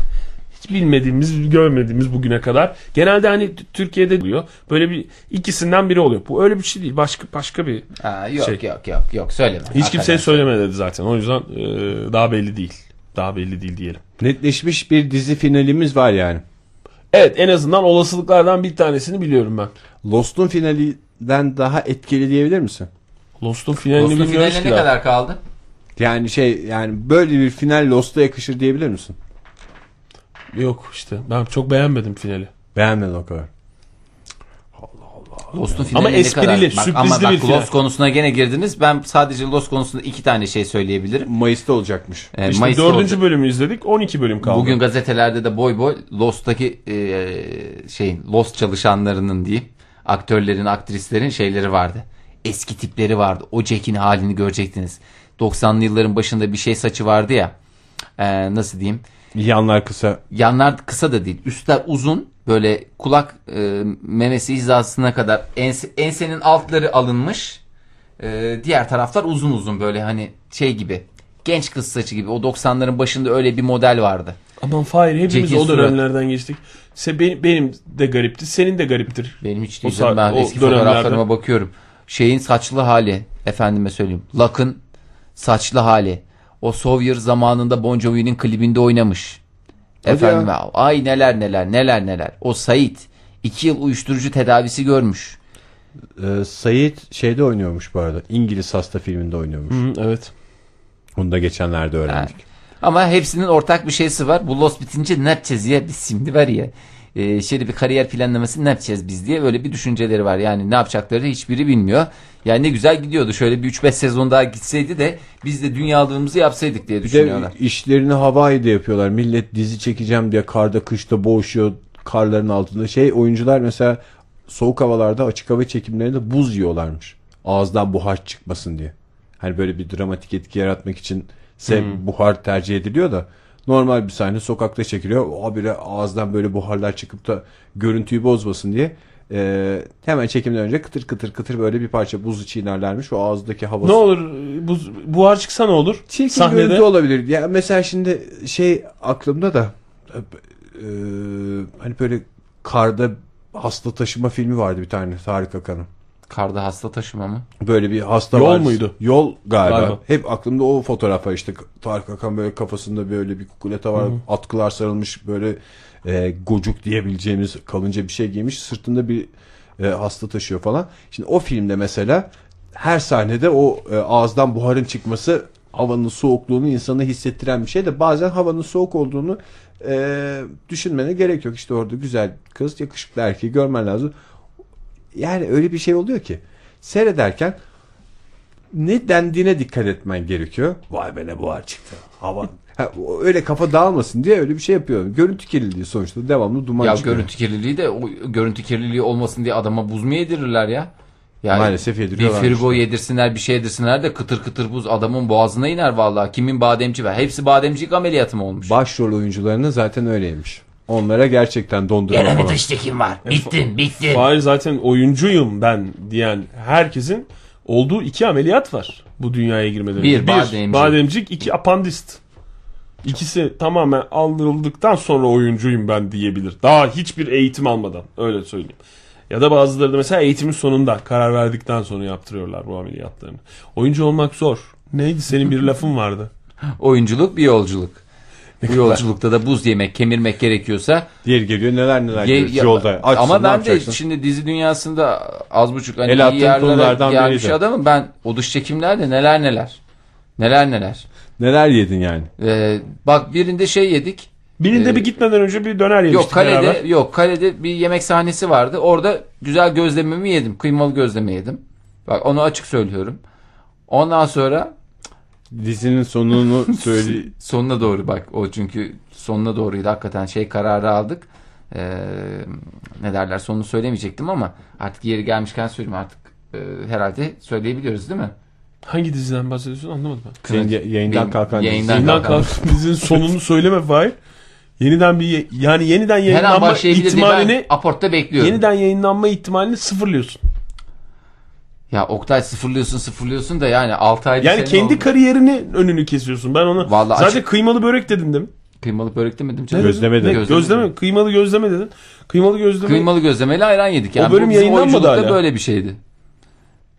[SPEAKER 2] hiç bilmediğimiz, görmediğimiz bugüne kadar. Genelde hani t- Türkiye'de oluyor. Böyle bir ikisinden biri oluyor. Bu öyle bir şey değil. Başka başka bir.
[SPEAKER 3] Ha, yok
[SPEAKER 2] Şey-
[SPEAKER 3] yok yok yok söyleme.
[SPEAKER 2] Hiç kimseye
[SPEAKER 3] Hakikaten.
[SPEAKER 2] söyleme dedi zaten. O yüzden e, daha belli değil. Daha belli değil diyelim.
[SPEAKER 1] netleşmiş bir dizi finalimiz var yani.
[SPEAKER 2] Evet en azından olasılıklardan bir tanesini biliyorum ben.
[SPEAKER 1] Lost'un finalinden daha etkili diyebilir misin?
[SPEAKER 2] Lost'un finalini
[SPEAKER 3] Lost'un
[SPEAKER 2] bilmiyoruz
[SPEAKER 3] finale
[SPEAKER 2] ki
[SPEAKER 3] ne
[SPEAKER 2] daha.
[SPEAKER 3] kadar kaldı?
[SPEAKER 1] Yani şey yani böyle bir final Lost'a yakışır diyebilir misin?
[SPEAKER 2] Yok işte. Ben çok beğenmedim finali.
[SPEAKER 1] Beğenmedin o kadar.
[SPEAKER 3] Lost'un finali
[SPEAKER 2] Ama
[SPEAKER 3] ne
[SPEAKER 2] esprili,
[SPEAKER 3] kadar?
[SPEAKER 2] sürprizli
[SPEAKER 3] ama bak,
[SPEAKER 2] bir final.
[SPEAKER 3] Lost konusuna gene girdiniz. Ben sadece Lost konusunda iki tane şey söyleyebilirim.
[SPEAKER 1] Mayıs'ta olacakmış.
[SPEAKER 3] Ee,
[SPEAKER 2] İşte
[SPEAKER 3] Mayıs'ta
[SPEAKER 2] dördüncü
[SPEAKER 3] olacak.
[SPEAKER 2] bölümü izledik. 12 bölüm kaldı.
[SPEAKER 3] Bugün gazetelerde de boy boy Lost'taki e, şeyin Lost çalışanlarının diyeyim aktörlerin aktrislerin şeyleri vardı. Eski tipleri vardı. O Jack'in halini görecektiniz. 90'lı yılların başında bir şey saçı vardı ya. E, nasıl diyeyim?
[SPEAKER 1] Yanlar kısa.
[SPEAKER 3] Yanlar kısa da değil. Üstler uzun. Böyle kulak e, memesi hizasına kadar ense- ensenin altları alınmış. E, diğer taraflar uzun uzun böyle hani şey gibi. Genç kız saçı gibi. O 90'ların başında öyle bir model vardı.
[SPEAKER 2] Aman Fahir hepimiz
[SPEAKER 3] Jack'in
[SPEAKER 2] o dönemlerden geçtik. Se, benim, benim de garipti. Senin de gariptir.
[SPEAKER 3] Benim hiç
[SPEAKER 2] O
[SPEAKER 3] değil
[SPEAKER 2] saat-
[SPEAKER 3] canım. ben
[SPEAKER 2] o
[SPEAKER 3] eski
[SPEAKER 2] dönemlerde-
[SPEAKER 3] fotoğraflarıma bakıyorum. Şeyin saçlı hali efendime söyleyeyim. Luck'ın saçlı hali. O Sawyer zamanında Bon Jovi'nin klibinde oynamış. Efendim ay neler neler neler neler. O Said iki yıl uyuşturucu tedavisi görmüş.
[SPEAKER 1] Ee, Said şeyde oynuyormuş bu arada. İngiliz Hasta filminde oynuyormuş.
[SPEAKER 2] Hı, evet.
[SPEAKER 1] Bunu da geçenlerde öğrendik.
[SPEAKER 3] Ama hepsinin ortak bir şeysi var. Bu Lost bitince ne yapacağız ya biz şimdi var ya. E, şöyle bir kariyer planlaması ne yapacağız biz diye böyle bir düşünceleri var. Yani ne yapacakları hiçbiri bilmiyor. Yani ne güzel gidiyordu. Şöyle bir 3-5 sezon daha gitseydi de biz de dünyalığımızı yapsaydık diye
[SPEAKER 1] Bir de
[SPEAKER 3] düşünüyorlar.
[SPEAKER 1] işlerini Hawaii'de yapıyorlar. Millet dizi çekeceğim diye karda kışta boğuşuyor karların altında. Şey oyuncular mesela soğuk havalarda açık hava çekimlerinde buz yiyorlarmış. Ağızdan buhar çıkmasın diye. Hani böyle bir dramatik etki yaratmak için se buhar tercih ediliyor da normal bir sahne sokakta çekiliyor. Habire ağızdan böyle buharlar çıkıp da görüntüyü bozmasın diye e, hemen çekimden önce kıtır kıtır kıtır böyle bir parça buzu çiğnerlermiş. O ağızdaki havası
[SPEAKER 2] Ne olur bu buhar çıksa ne olur?
[SPEAKER 1] Çirkin görüntü olabilir. Ya mesela şimdi şey aklımda da e, e, hani böyle karda hasta taşıma filmi vardı bir tane Tarık Akan'ın.
[SPEAKER 3] Karda hasta taşıma mı?
[SPEAKER 1] Böyle bir hasta
[SPEAKER 2] Yol
[SPEAKER 1] var.
[SPEAKER 2] muydu?
[SPEAKER 1] Yol galiba.
[SPEAKER 2] Galiba.
[SPEAKER 1] Hep aklımda o fotoğraf var işte. Tarık Akan böyle kafasında böyle bir kukuleta var. Atkılar sarılmış böyle e, gocuk diyebileceğimiz kalınca bir şey giymiş. Sırtında bir e, hasta taşıyor falan. Şimdi o filmde mesela her sahnede o e, ağızdan buharın çıkması havanın soğukluğunu insana hissettiren bir şey de bazen havanın soğuk olduğunu e, düşünmene gerek yok. İşte orada güzel kız, yakışıklı erkeği görmen lazım. Yani öyle bir şey oluyor ki seyrederken ne dendiğine dikkat etmen gerekiyor. Vay be ne buhar çıktı. Hava. Ha, o- öyle kafa dağılmasın diye öyle bir şey yapıyorum. Görüntü kirliliği sonuçta devamlı duman
[SPEAKER 3] Ya
[SPEAKER 1] çıkıyor.
[SPEAKER 3] görüntü kirliliği de o görüntü kirliliği olmasın diye adama buz mu yedirirler ya? Yani
[SPEAKER 1] Maalesef
[SPEAKER 3] Bir
[SPEAKER 1] yediriyorlar.
[SPEAKER 3] frigo yedirsinler bir şey yedirsinler de kıtır kıtır buz adamın boğazına iner vallahi. Kimin bademci var? Hepsi bademcik ameliyatı mı olmuş?
[SPEAKER 1] Başrol oyuncularının zaten öyleymiş. Onlara gerçekten dondurma
[SPEAKER 3] Gene bir
[SPEAKER 1] falan.
[SPEAKER 3] dış çekim var. Bittim bittim.
[SPEAKER 2] Hayır zaten oyuncuyum ben diyen herkesin olduğu iki ameliyat var bu dünyaya girmeden önce.
[SPEAKER 3] Bir, bademcik.
[SPEAKER 2] bademcik, iki apandist. İkisi tamamen aldırıldıktan sonra oyuncuyum ben diyebilir. Daha hiçbir eğitim almadan öyle söyleyeyim. Ya da bazıları da mesela eğitimin sonunda karar verdikten sonra yaptırıyorlar bu ameliyatlarını. Oyuncu olmak zor. Neydi senin bir lafın vardı.
[SPEAKER 3] Oyunculuk bir yolculuk. Bu yolculukta da buz yemek, kemirmek gerekiyorsa
[SPEAKER 1] Diğeri geliyor neler neler
[SPEAKER 3] Ye-
[SPEAKER 1] görüyoruz
[SPEAKER 3] ya-
[SPEAKER 1] yolda. Açsın,
[SPEAKER 3] ama
[SPEAKER 1] ne
[SPEAKER 3] ben de
[SPEAKER 1] yapacaksın?
[SPEAKER 3] şimdi dizi dünyasında az buçuk hani
[SPEAKER 1] El attığın
[SPEAKER 3] iyi yerlere
[SPEAKER 1] konulardan
[SPEAKER 3] gelmiş
[SPEAKER 1] biriydi.
[SPEAKER 3] adamım. Ben o dış çekimlerde neler neler. Neler neler.
[SPEAKER 1] Neler yedin yani?
[SPEAKER 3] Ee, bak birinde şey yedik.
[SPEAKER 2] Birinde
[SPEAKER 3] Ee,
[SPEAKER 2] bir gitmeden önce bir döner yemiştik
[SPEAKER 3] Yok kalede
[SPEAKER 2] beraber.
[SPEAKER 3] yok kalede bir yemek sahnesi vardı. Orada güzel gözlememi yedim. Kıymalı gözleme yedim. Bak onu açık söylüyorum. Ondan sonra
[SPEAKER 1] Dizinin sonunu söyle. şey,
[SPEAKER 3] sonuna doğru bak o çünkü sonuna doğruydu hakikaten şey kararı aldık. Ee, ne derler sonunu söylemeyecektim ama artık yeri gelmişken söyleyeyim artık e, herhalde söyleyebiliyoruz değil mi?
[SPEAKER 2] Hangi diziden bahsediyorsun anlamadım ben.
[SPEAKER 1] Yayın- yayından
[SPEAKER 3] Benim-
[SPEAKER 1] kalkan dizi.
[SPEAKER 3] yayından
[SPEAKER 2] Yeniden
[SPEAKER 3] kalkan.
[SPEAKER 2] kalk dizinin sonunu söyleme Fahir. Yeniden bir ye- yani yeniden
[SPEAKER 3] Her an
[SPEAKER 2] yayınlanma
[SPEAKER 3] başlayabilir diye ben
[SPEAKER 2] ihtimalini
[SPEAKER 3] aportta bekliyorum.
[SPEAKER 2] yeniden yayınlanma ihtimalini sıfırlıyorsun.
[SPEAKER 3] Ya Oktay sıfırlıyorsun sıfırlıyorsun da yani 6 ayda
[SPEAKER 2] Yani
[SPEAKER 3] senin
[SPEAKER 2] kendi
[SPEAKER 3] oldu.
[SPEAKER 2] kariyerini önünü kesiyorsun. Ben ona
[SPEAKER 3] Vallahi
[SPEAKER 2] zaten
[SPEAKER 3] açık-
[SPEAKER 2] kıymalı börek dedim değil mi?
[SPEAKER 3] kıymalı börek demedim canım.
[SPEAKER 1] Gözleme
[SPEAKER 2] Ne?
[SPEAKER 1] de.
[SPEAKER 3] Gözleme.
[SPEAKER 2] Gözleme. Kıymalı gözleme dedin. Kıymalı gözleme.
[SPEAKER 3] Kıymalı gözlemeli ayran yedik. Yani
[SPEAKER 2] O bölüm
[SPEAKER 3] Bu bizim
[SPEAKER 2] yayınlanmadı
[SPEAKER 3] oyunculukta
[SPEAKER 2] hala.
[SPEAKER 3] böyle bir şeydi.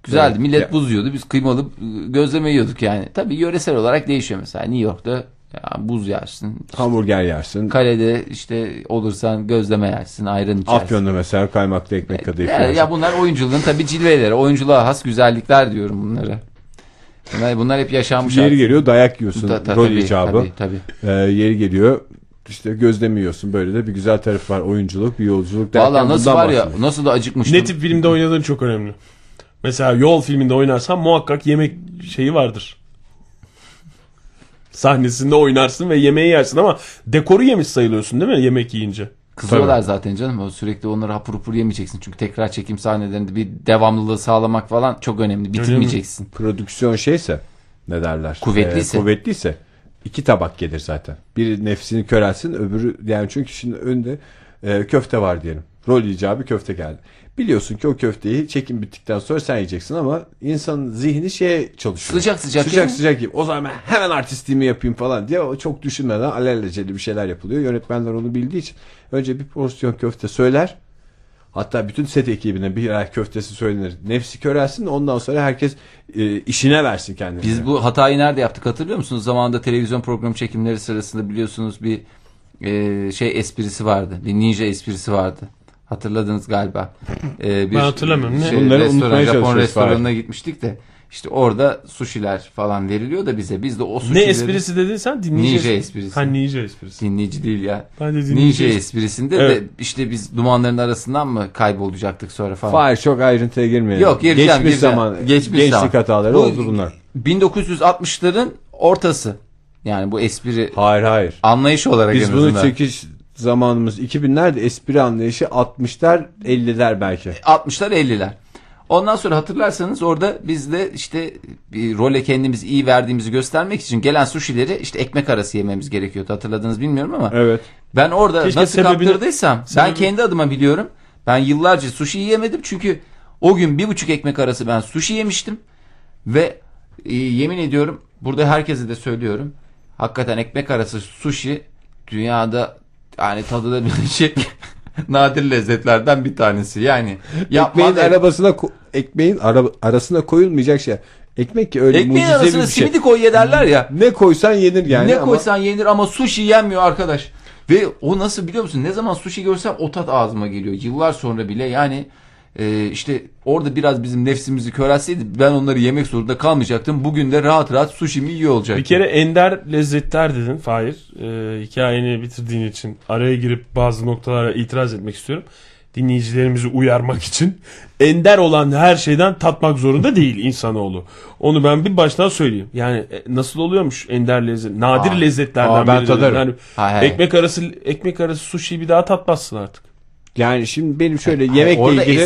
[SPEAKER 3] Güzeldi.
[SPEAKER 1] Evet.
[SPEAKER 3] Millet
[SPEAKER 1] Ya.
[SPEAKER 3] buz yiyordu. Biz kıymalı e, gözleme yiyorduk yani. Tabii yöresel olarak değişiyor mesela. New York'ta ya, buz yersin.
[SPEAKER 1] Hamburger yersin.
[SPEAKER 3] Kalede işte olursan gözleme yersin. Ayran içersin.
[SPEAKER 1] Afyon'da mesela kaymaklı ekmek kadayıf
[SPEAKER 3] E, Ya,
[SPEAKER 1] yersin.
[SPEAKER 3] ya bunlar oyunculuğun tabii cilveleri. Oyunculuğa has güzellikler diyorum bunlara. Bunlar, bunlar hep yaşanmış.
[SPEAKER 1] Yeri
[SPEAKER 3] artık.
[SPEAKER 1] geliyor dayak yiyorsun.
[SPEAKER 3] Ta- ta-
[SPEAKER 1] rol
[SPEAKER 3] tabii,
[SPEAKER 1] icabı.
[SPEAKER 3] tabii, tabii.
[SPEAKER 1] Ee, yeri geliyor işte gözlemiyorsun. Böyle de bir güzel tarafı var. Oyunculuk, bir yolculuk derken
[SPEAKER 3] Vallahi nasıl
[SPEAKER 1] bundan
[SPEAKER 3] var ya
[SPEAKER 1] bahsediyorum.
[SPEAKER 3] nasıl da acıkmıştım.
[SPEAKER 2] Ne tip filmde oynadığın çok önemli. Mesela Yol filminde oynarsan muhakkak yemek şeyi vardır. Sahnesinde oynarsın ve yemeği yersin ama dekoru yemiş sayılıyorsun değil mi yemek yiyince?
[SPEAKER 3] Kızıyorlar zaten canım. O Sürekli onları hapur hapur yemeyeceksin. Çünkü tekrar çekim sahnelerinde bir devamlılığı sağlamak falan çok önemli. Bitirmeyeceksin.
[SPEAKER 1] Prodüksiyon şeyse ne derler?
[SPEAKER 3] Kuvvetliyse.
[SPEAKER 1] Ee, kuvvetliyse iki tabak gelir zaten. Biri nefsini körelsin öbürü yani çünkü şimdi önde e, köfte var diyelim. Rol icabı köfte geldi. Biliyorsun ki o köfteyi çekim bittikten sonra sen yiyeceksin ama insanın zihni şeye çalışıyor.
[SPEAKER 3] Sıcak sıcak
[SPEAKER 1] Sıcak
[SPEAKER 3] ye.
[SPEAKER 1] sıcak yiyeyim. O zaman ben hemen artistliğimi yapayım falan diye o çok düşünmeden alelacele bir şeyler yapılıyor. Yönetmenler onu bildiği için önce bir porsiyon köfte söyler. Hatta bütün set ekibine birer köftesi söylenir. Nefsi körelsin ondan sonra herkes e, işine versin kendini.
[SPEAKER 3] Biz bu hatayı nerede yaptık hatırlıyor musunuz? Zamanında televizyon programı çekimleri sırasında biliyorsunuz bir e, şey esprisi vardı. Bir ninja esprisi vardı. Hatırladınız galiba. E, bir
[SPEAKER 2] Ben hatırlamıyorum. Ne?
[SPEAKER 1] Bunları
[SPEAKER 3] restoran,
[SPEAKER 1] unutmaya
[SPEAKER 3] Japon
[SPEAKER 1] çalışıyoruz
[SPEAKER 3] restoranına gitmiştik de işte orada sushiler falan veriliyor da bize. Biz de o
[SPEAKER 2] Ne
[SPEAKER 3] sushileri...
[SPEAKER 2] esprisi dedin sen? Dinleyici
[SPEAKER 3] Ninja
[SPEAKER 2] espri-
[SPEAKER 3] esprisi.
[SPEAKER 2] Ha ninja esprisi.
[SPEAKER 3] Dinleyici değil ya.
[SPEAKER 2] Ben de dinleyici
[SPEAKER 3] Ninja
[SPEAKER 2] espri-
[SPEAKER 3] esprisinde
[SPEAKER 2] Evet.
[SPEAKER 3] de işte biz dumanların arasından mı kaybolacaktık sonra falan.
[SPEAKER 1] Hayır çok ayrıntıya girmeyelim.
[SPEAKER 3] Yok gireceğim
[SPEAKER 1] Geçmiş
[SPEAKER 3] gireceğim.
[SPEAKER 1] zaman
[SPEAKER 3] Geçmiş
[SPEAKER 1] gençlik
[SPEAKER 3] zaman.
[SPEAKER 1] hataları
[SPEAKER 3] Bu-
[SPEAKER 1] oldu bunlar.
[SPEAKER 3] 1960'ların ortası. Yani bu espri
[SPEAKER 1] Hayır hayır.
[SPEAKER 3] anlayış olarak
[SPEAKER 1] Biz
[SPEAKER 3] en
[SPEAKER 1] bunu
[SPEAKER 3] azından.
[SPEAKER 1] çekiş zamanımız 2000'lerde espri anlayışı 60'lar 50'ler belki.
[SPEAKER 3] 60'lar 50'ler. Ondan sonra hatırlarsanız orada biz de işte bir role kendimiz iyi verdiğimizi göstermek için gelen sushileri işte ekmek arası yememiz gerekiyordu. Hatırladınız bilmiyorum ama.
[SPEAKER 1] Evet.
[SPEAKER 3] Ben orada
[SPEAKER 2] Keşke
[SPEAKER 3] nasıl
[SPEAKER 2] sebebini-
[SPEAKER 3] kaptırdıysam ben
[SPEAKER 2] sebebini-
[SPEAKER 3] kendi adıma biliyorum. Ben yıllarca sushi yiyemedim çünkü o gün bir buçuk ekmek arası ben sushi yemiştim. Ve e, yemin ediyorum burada herkese de söylüyorum. Hakikaten ekmek arası sushi dünyada yani tadılabilecek şey, nadir lezzetlerden bir tanesi. Yani yapman
[SPEAKER 1] Ekmeğin arabasına ko- ekmeğin ara- arasına koyulmayacak şey. Ekmek ki öyle
[SPEAKER 3] ekmeğin
[SPEAKER 1] mucizevi
[SPEAKER 3] arasına
[SPEAKER 1] bir şey.
[SPEAKER 3] simidi koy ye derler ya.
[SPEAKER 1] Ne koysan yenir yani
[SPEAKER 3] ne
[SPEAKER 1] ama
[SPEAKER 3] koysan yenir ama sushi yenmiyor arkadaş. Ve o nasıl biliyor musun? Ne zaman sushi görsem o tat ağzıma geliyor. Yıllar sonra bile yani e, Ee, işte orada biraz bizim nefsimizi körelseydi ben onları yemek zorunda kalmayacaktım. Bugün de rahat rahat sushimi yiyor olacaktım.
[SPEAKER 2] Bir kere ender lezzetler dedin Fahir. Ee, hikayeni bitirdiğin için araya girip bazı noktalara itiraz etmek istiyorum. Dinleyicilerimizi uyarmak için ender olan her şeyden tatmak zorunda değil insanoğlu. Onu ben bir baştan söyleyeyim. Yani e, nasıl oluyormuş ender lezzet? Nadir
[SPEAKER 3] Aa.
[SPEAKER 2] lezzetlerden
[SPEAKER 1] Aa, ben
[SPEAKER 2] biri. dedin.
[SPEAKER 1] tadarım.
[SPEAKER 2] Yani
[SPEAKER 3] Hay hay.
[SPEAKER 2] ekmek arası ekmek arası sushi bir daha tatmazsın artık.
[SPEAKER 1] Yani şimdi benim şöyle yemekle
[SPEAKER 3] Orada
[SPEAKER 1] ilgili